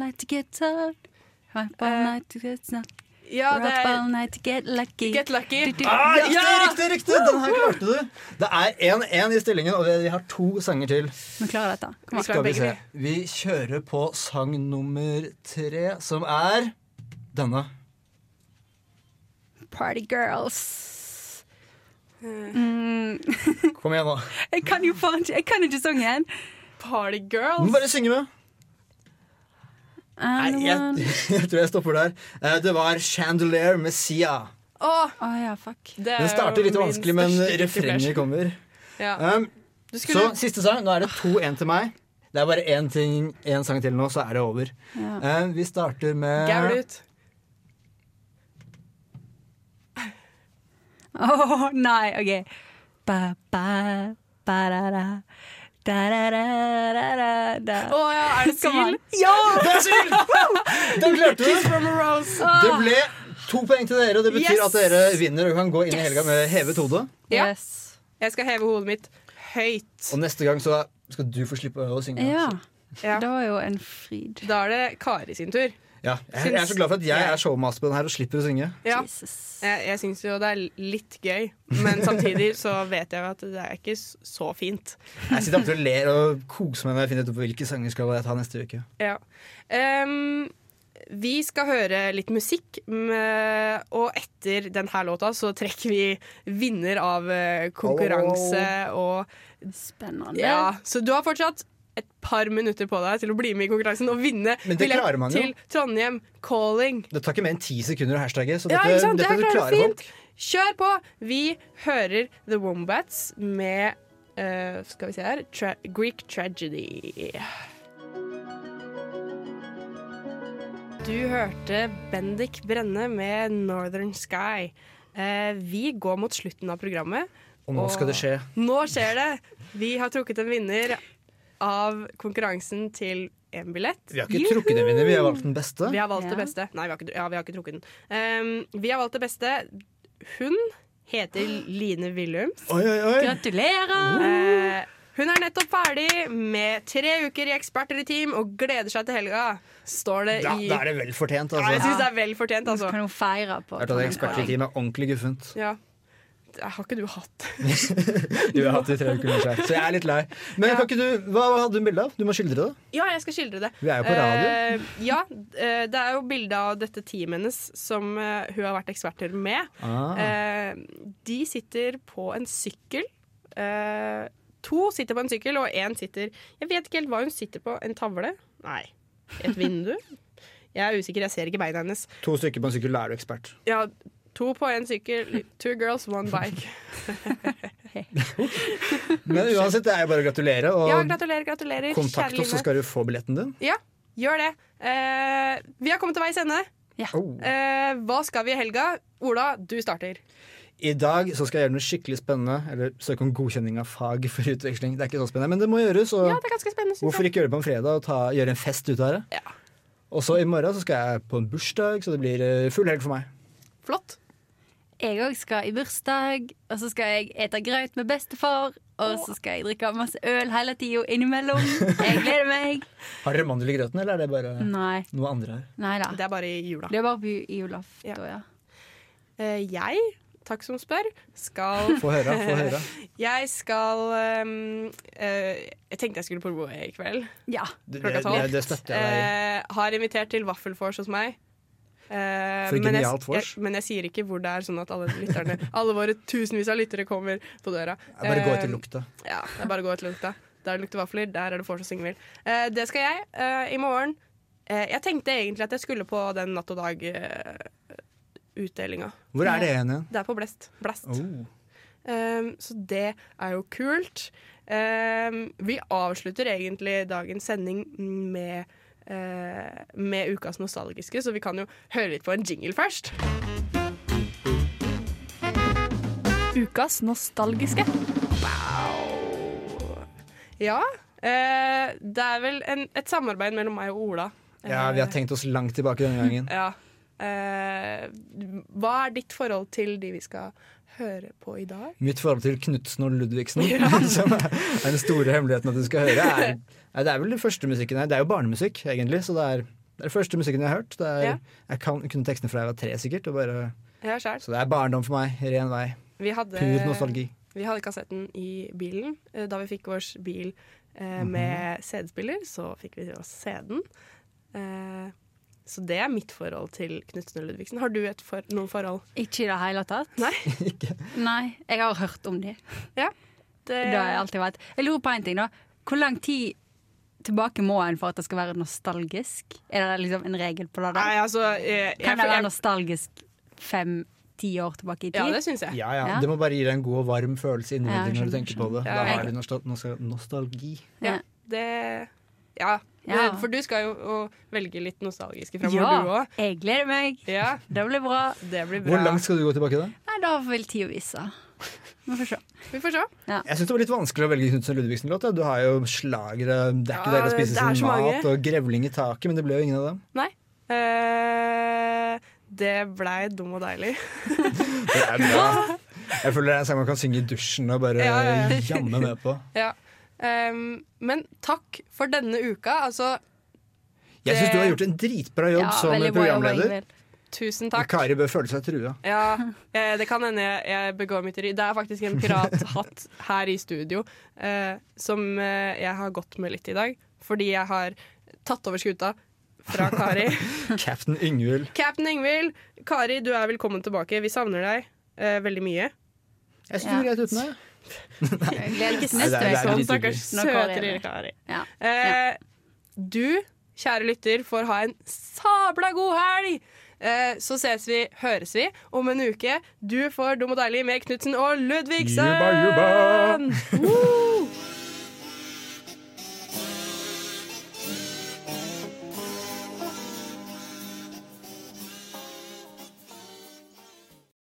Speaker 3: Like to get up. Right all night to get not.
Speaker 1: Eh, Ja, det
Speaker 3: Right
Speaker 1: er-
Speaker 3: all night to get lucky.
Speaker 1: Get lucky.
Speaker 3: Du, du,
Speaker 4: Ah,
Speaker 3: ja.
Speaker 4: riktig, riktig! riktig Den her klarte du! Det er 1-1 i stillingen, og vi har to sanger til.
Speaker 3: Vi klarer dette. Kom an.
Speaker 4: Skal vi se. Vi kjører på sang nummer tre, som er denne.
Speaker 3: Party girls. Mm.
Speaker 4: Kom igjen, nå.
Speaker 3: jeg kan jo faen ikke Jeg kan ikke sangen.
Speaker 1: Party
Speaker 4: Du må
Speaker 1: girls.
Speaker 4: bare synge med. Nei, jeg, jeg tror jeg stopper der. Eh, Det var 'Chandelier med Sia'.
Speaker 1: Åh,
Speaker 3: ja, fuck.
Speaker 1: Det
Speaker 4: Den
Speaker 1: er
Speaker 4: starter
Speaker 1: jo
Speaker 4: litt
Speaker 1: min
Speaker 4: vanskelig, men
Speaker 1: største guilty
Speaker 4: refrenget
Speaker 1: pleasure.
Speaker 4: kommer.
Speaker 1: Ja.
Speaker 4: Um,
Speaker 1: Du
Speaker 4: så
Speaker 1: skulle-
Speaker 4: siste sang. Nå er det 2-1 til meg. Det er bare én ting, én sang til nå, så er det over.
Speaker 1: Ja.
Speaker 4: Um, vi starter med
Speaker 1: Gaul ut.
Speaker 3: Åh, nei, OK. Ba, ba, ba, da, da. Da, da, da, da, da, da.
Speaker 1: Å ja, er det
Speaker 3: Kom an.
Speaker 1: Seal?
Speaker 3: Ja!
Speaker 4: Det er Seal! Den klarte
Speaker 1: Kiss
Speaker 4: du!
Speaker 1: from a rose. Ah.
Speaker 4: Det ble to poeng til dere, og det betyr
Speaker 1: Yes!
Speaker 4: at dere vinner og kan gå inn i helga med hevet hode.
Speaker 1: Ja. Jeg skal heve hodet mitt høyt.
Speaker 4: Og neste gang så skal du få slippe å synge.
Speaker 3: Ja.
Speaker 1: Ja.
Speaker 3: Det var jo en fryd.
Speaker 1: Da er det Kari sin tur.
Speaker 4: Ja, jeg, jeg er så glad for at jeg er showmaster på den her og slipper å synge.
Speaker 1: Ja. Jeg, Eh, jeg syns jo det er litt gøy, men samtidig så vet jeg jo at det er ikke s- så fint.
Speaker 4: Jeg sitter alltid og ler og koser meg når jeg finner ut hvilke sanger skal jeg ta neste uke.
Speaker 1: Ja. Ehm, vi skal høre litt musikk, m- og etter denne låta så trekker vi vinner av eh, konkurranse og
Speaker 3: Spennende.
Speaker 1: Ja, så du har fortsatt et par minutter på deg til å bli med i konkurransen og vinne
Speaker 4: Men det klarer man jo.
Speaker 1: til Trondheim Calling.
Speaker 4: Det tar ikke mer enn ti sekunder å hashtagge, så
Speaker 1: Ja,
Speaker 4: dette,
Speaker 1: ikke sant? Det
Speaker 4: dette
Speaker 1: her klarer du
Speaker 4: klarer
Speaker 1: fint.
Speaker 4: folk.
Speaker 1: Kjør på! Vi hører The Wombats med eh, Skal vi se her tra Greek Tragedy. Du hørte Bendik Brenne med Northern Sky. Eh, vi går mot slutten av programmet.
Speaker 4: Og nå skal det skje.
Speaker 1: Nå skjer det! Vi har trukket en vinner av konkurransen til én billett.
Speaker 4: Vi har ikke trukket den, Vinni. Vi har valgt den beste.
Speaker 1: Vi har valgt det
Speaker 3: Ja.
Speaker 1: beste. Nei, vi har ikke, ja, vi har ikke trukket den. Ehm, vi har valgt det beste. Hun heter Line Wilhelms.
Speaker 4: Oi, oi, oi.
Speaker 3: Gratulerer!
Speaker 1: Eh, hun er nettopp ferdig med tre uker i Eksperter i team og gleder seg til helga, står det
Speaker 4: Da,
Speaker 1: i
Speaker 4: da er det vel fortjent,
Speaker 1: Ja, Jeg
Speaker 4: altså.
Speaker 1: syns det er vel fortjent,
Speaker 3: Så
Speaker 1: altså.
Speaker 3: kan hun feire på
Speaker 4: Jeg har tatt ekspertteam er ordentlig guffent.
Speaker 1: Ja. Det Har ikke du hatt
Speaker 4: Du har hatt det i tre uker, nå, så jeg- så jeg er litt lei. Men kan ikke du, hva hadde du en bilde av? Du må skildre det.
Speaker 1: Ja, jeg skal skildre det.
Speaker 4: Vi er jo på radio.
Speaker 1: Eh, ja, eh, det er jo bilde av dette teamet hennes som eh, hun har vært eksperter med.
Speaker 4: Ah.
Speaker 1: Eh, de sitter på en sykkel. Eh, to sitter på en sykkel, og én sitter Jeg vet ikke helt hva hun sitter på. En tavle? Nei. Et vindu? Jeg er usikker, jeg ser ikke beina hennes.
Speaker 4: To stykker på en sykkel, da er du ekspert.
Speaker 1: Ja, to på én sykkel. Two girls, one bike.
Speaker 4: Men uansett, det er jo bare å gratulere. Og
Speaker 1: Ja, gratulerer, gratulerer.
Speaker 4: kontakt oss, så skal du få billetten din.
Speaker 1: Ja, gjør det. Eh, vi har kommet til veis ende.
Speaker 4: Oh.
Speaker 1: Eh, hva skal vi i helga? Ola, du starter.
Speaker 4: I dag så skal jeg gjøre noe skikkelig spennende. Eller søke om godkjenning av fag for utveksling. Det er ikke så spennende, men det må gjøres. Og
Speaker 1: Ja, det er ganske spennende. synes
Speaker 4: hvorfor
Speaker 1: jeg.
Speaker 4: ikke gjøre det på en fredag og ta, gjøre en fest ut av det? Og så i morgen så skal jeg på en bursdag, så det blir eh, full helg for meg.
Speaker 1: Flott.
Speaker 3: Jeg òg skal i bursdag, og så skal jeg ete grøt med bestefar. Og så skal jeg drikke masse øl hele tida innimellom. Jeg gleder meg.
Speaker 4: Har dere mandel i grøten, eller er det bare
Speaker 3: Nei.
Speaker 4: noe andre her?
Speaker 3: Nei da.
Speaker 1: Det er bare i jula.
Speaker 3: Det er bare på i jula.
Speaker 1: Ja.
Speaker 3: Da, ja.
Speaker 1: Eh, jeg takk som spør, skal
Speaker 4: Få høre, få høre.
Speaker 1: Jeg skal ehm, eh, Jeg tenkte jeg skulle på Roe i kveld.
Speaker 3: Ja.
Speaker 4: Det-
Speaker 1: Klokka
Speaker 4: det-
Speaker 1: tolv.
Speaker 4: det- det støtter jeg deg i.
Speaker 1: Eh, har invitert til vaffelfors hos meg. Eh,
Speaker 4: For
Speaker 1: men, jeg,
Speaker 4: genialt vors.
Speaker 1: jeg, men jeg sier ikke hvor det er, sånn at alle lytterne Alle våre tusenvis av lyttere kommer på døra.
Speaker 4: Jeg bare gå etter
Speaker 1: Eh,
Speaker 4: lukta.
Speaker 1: ja, det er bare å gå etter lukta. Der det lukter vafler, der er det vors og singvill. Eh, det skal jeg eh, i morgen. Eh, jeg tenkte egentlig at jeg skulle på den natt og dag-utdelinga.
Speaker 4: Hvor er det igjen?
Speaker 1: Det er på Blest. Blast.
Speaker 4: Oh.
Speaker 1: Um, så det er jo kult. Um, vi avslutter egentlig dagens sending med, eh, med ukas nostalgiske, så vi kan jo høre litt på en jingle først. Ukas nostalgiske. Wow. Ja. eh, det er vel en, et samarbeid mellom meg og Ola.
Speaker 4: Ja, vi har tenkt oss langt tilbake denne gangen.
Speaker 1: Ja. Eh, hva er ditt forhold til de vi skal høre på i dag?
Speaker 4: Mitt forhold til Knutsen og Ludvigsen, som er den store hemmeligheten at du skal høre, er Nei, Det er vel den første musikken her. Det er jo barnemusikk, egentlig, så det er, det er den første musikken jeg har hørt. Det er,
Speaker 1: Ja.
Speaker 4: Jeg kan, kunne tekstene fra jeg var tre, sikkert. Og bare,
Speaker 1: Ja, sjæl.
Speaker 4: så det er barndom for meg. Ren vei.
Speaker 1: Vi hadde,
Speaker 4: Pur nostalgi.
Speaker 1: Vi hadde kassetten i bilen. Eh, Da vi fikk vår bil eh,
Speaker 4: Mhm.
Speaker 1: med CD-spiller, så fikk vi oss CD-en. Eh, så det er mitt forhold til Knutsen og Ludvigsen. Har du et for, noe forhold?
Speaker 3: Ikke i det hele tatt.
Speaker 1: Nei.
Speaker 3: Nei, jeg har hørt om de.
Speaker 1: Ja,
Speaker 3: det har jeg alltid vært. Jeg lurer på en ting, da. Hvor lang tid tilbake må en for at det skal være nostalgisk? Er det liksom en regel på det? da?
Speaker 1: Nei, altså, eh, jeg-
Speaker 3: kan det
Speaker 1: jeg-
Speaker 3: være nostalgisk fem-ti år tilbake i tid?
Speaker 4: Ja, ja. Det må bare gi deg en god og varm følelse inni
Speaker 3: Ja,
Speaker 4: deg når
Speaker 3: skjønner,
Speaker 4: du tenker på det.
Speaker 3: skjønner.
Speaker 4: Da
Speaker 3: Ja,
Speaker 4: har
Speaker 3: jeg-
Speaker 4: du nostal nostal nostalgi.
Speaker 1: Ja, det Ja.
Speaker 3: Ja.
Speaker 1: Det- For du skal jo å velge litt nostalgiske framover,
Speaker 3: Ja,
Speaker 1: du òg.
Speaker 3: jeg gleder meg.
Speaker 1: Ja.
Speaker 3: Det blir bra.
Speaker 1: Det blir
Speaker 4: Hvor langt skal du gå tilbake da?
Speaker 3: Nei, da vil tida vise. Vi får se.
Speaker 1: Vi får se.
Speaker 4: Jeg syns det var litt vanskelig å velge Knutsen og Ludvigsen-låt. ja. Du har jo slagere, det er ikke
Speaker 1: Ja,
Speaker 4: deilig å spise
Speaker 1: det er så
Speaker 4: sin mat,
Speaker 1: mange.
Speaker 4: og grevling i taket, men det ble jo ingen av dem.
Speaker 1: Nei. Eh, det blei dum og deilig.
Speaker 4: Det er bra. Jeg føler det er en sang man kan synge i dusjen og bare
Speaker 1: Ja, ja, ja.
Speaker 4: jamme med på.
Speaker 1: Ja. Ehm, men takk for denne uka. Altså
Speaker 4: Jeg syns du har gjort en dritbra jobb som programleder.
Speaker 1: Tusen takk.
Speaker 4: Kari bør føle seg trua.
Speaker 1: Ja, eh, det kan hende jeg, jeg begår mytteri. Det er faktisk en pirathatt her i studio eh, som eh, jeg har gått med litt i dag. Fordi jeg har tatt over skuta fra Kari.
Speaker 4: Captain Yngvild.
Speaker 1: Captain Ingvild, Kari, du er velkommen tilbake. Vi savner deg eh, veldig mye.
Speaker 4: Jeg synes det er greit uten deg.
Speaker 1: Ikke
Speaker 4: Nei, det
Speaker 1: neste
Speaker 4: er- det er
Speaker 1: uke.
Speaker 4: litt
Speaker 1: Stakkars
Speaker 4: hyggelig.
Speaker 3: Når Kari
Speaker 1: søte
Speaker 3: er
Speaker 1: lille
Speaker 3: med.
Speaker 1: Kari.
Speaker 3: Ja.
Speaker 1: Eh, du, kjære lytter, får ha en sabla god helg! Eh, så ses vi, høres vi, om en uke. Du får Dum og deilig med Knutsen og Ludvigsen!
Speaker 4: Jubba, jubba!
Speaker 1: Woo!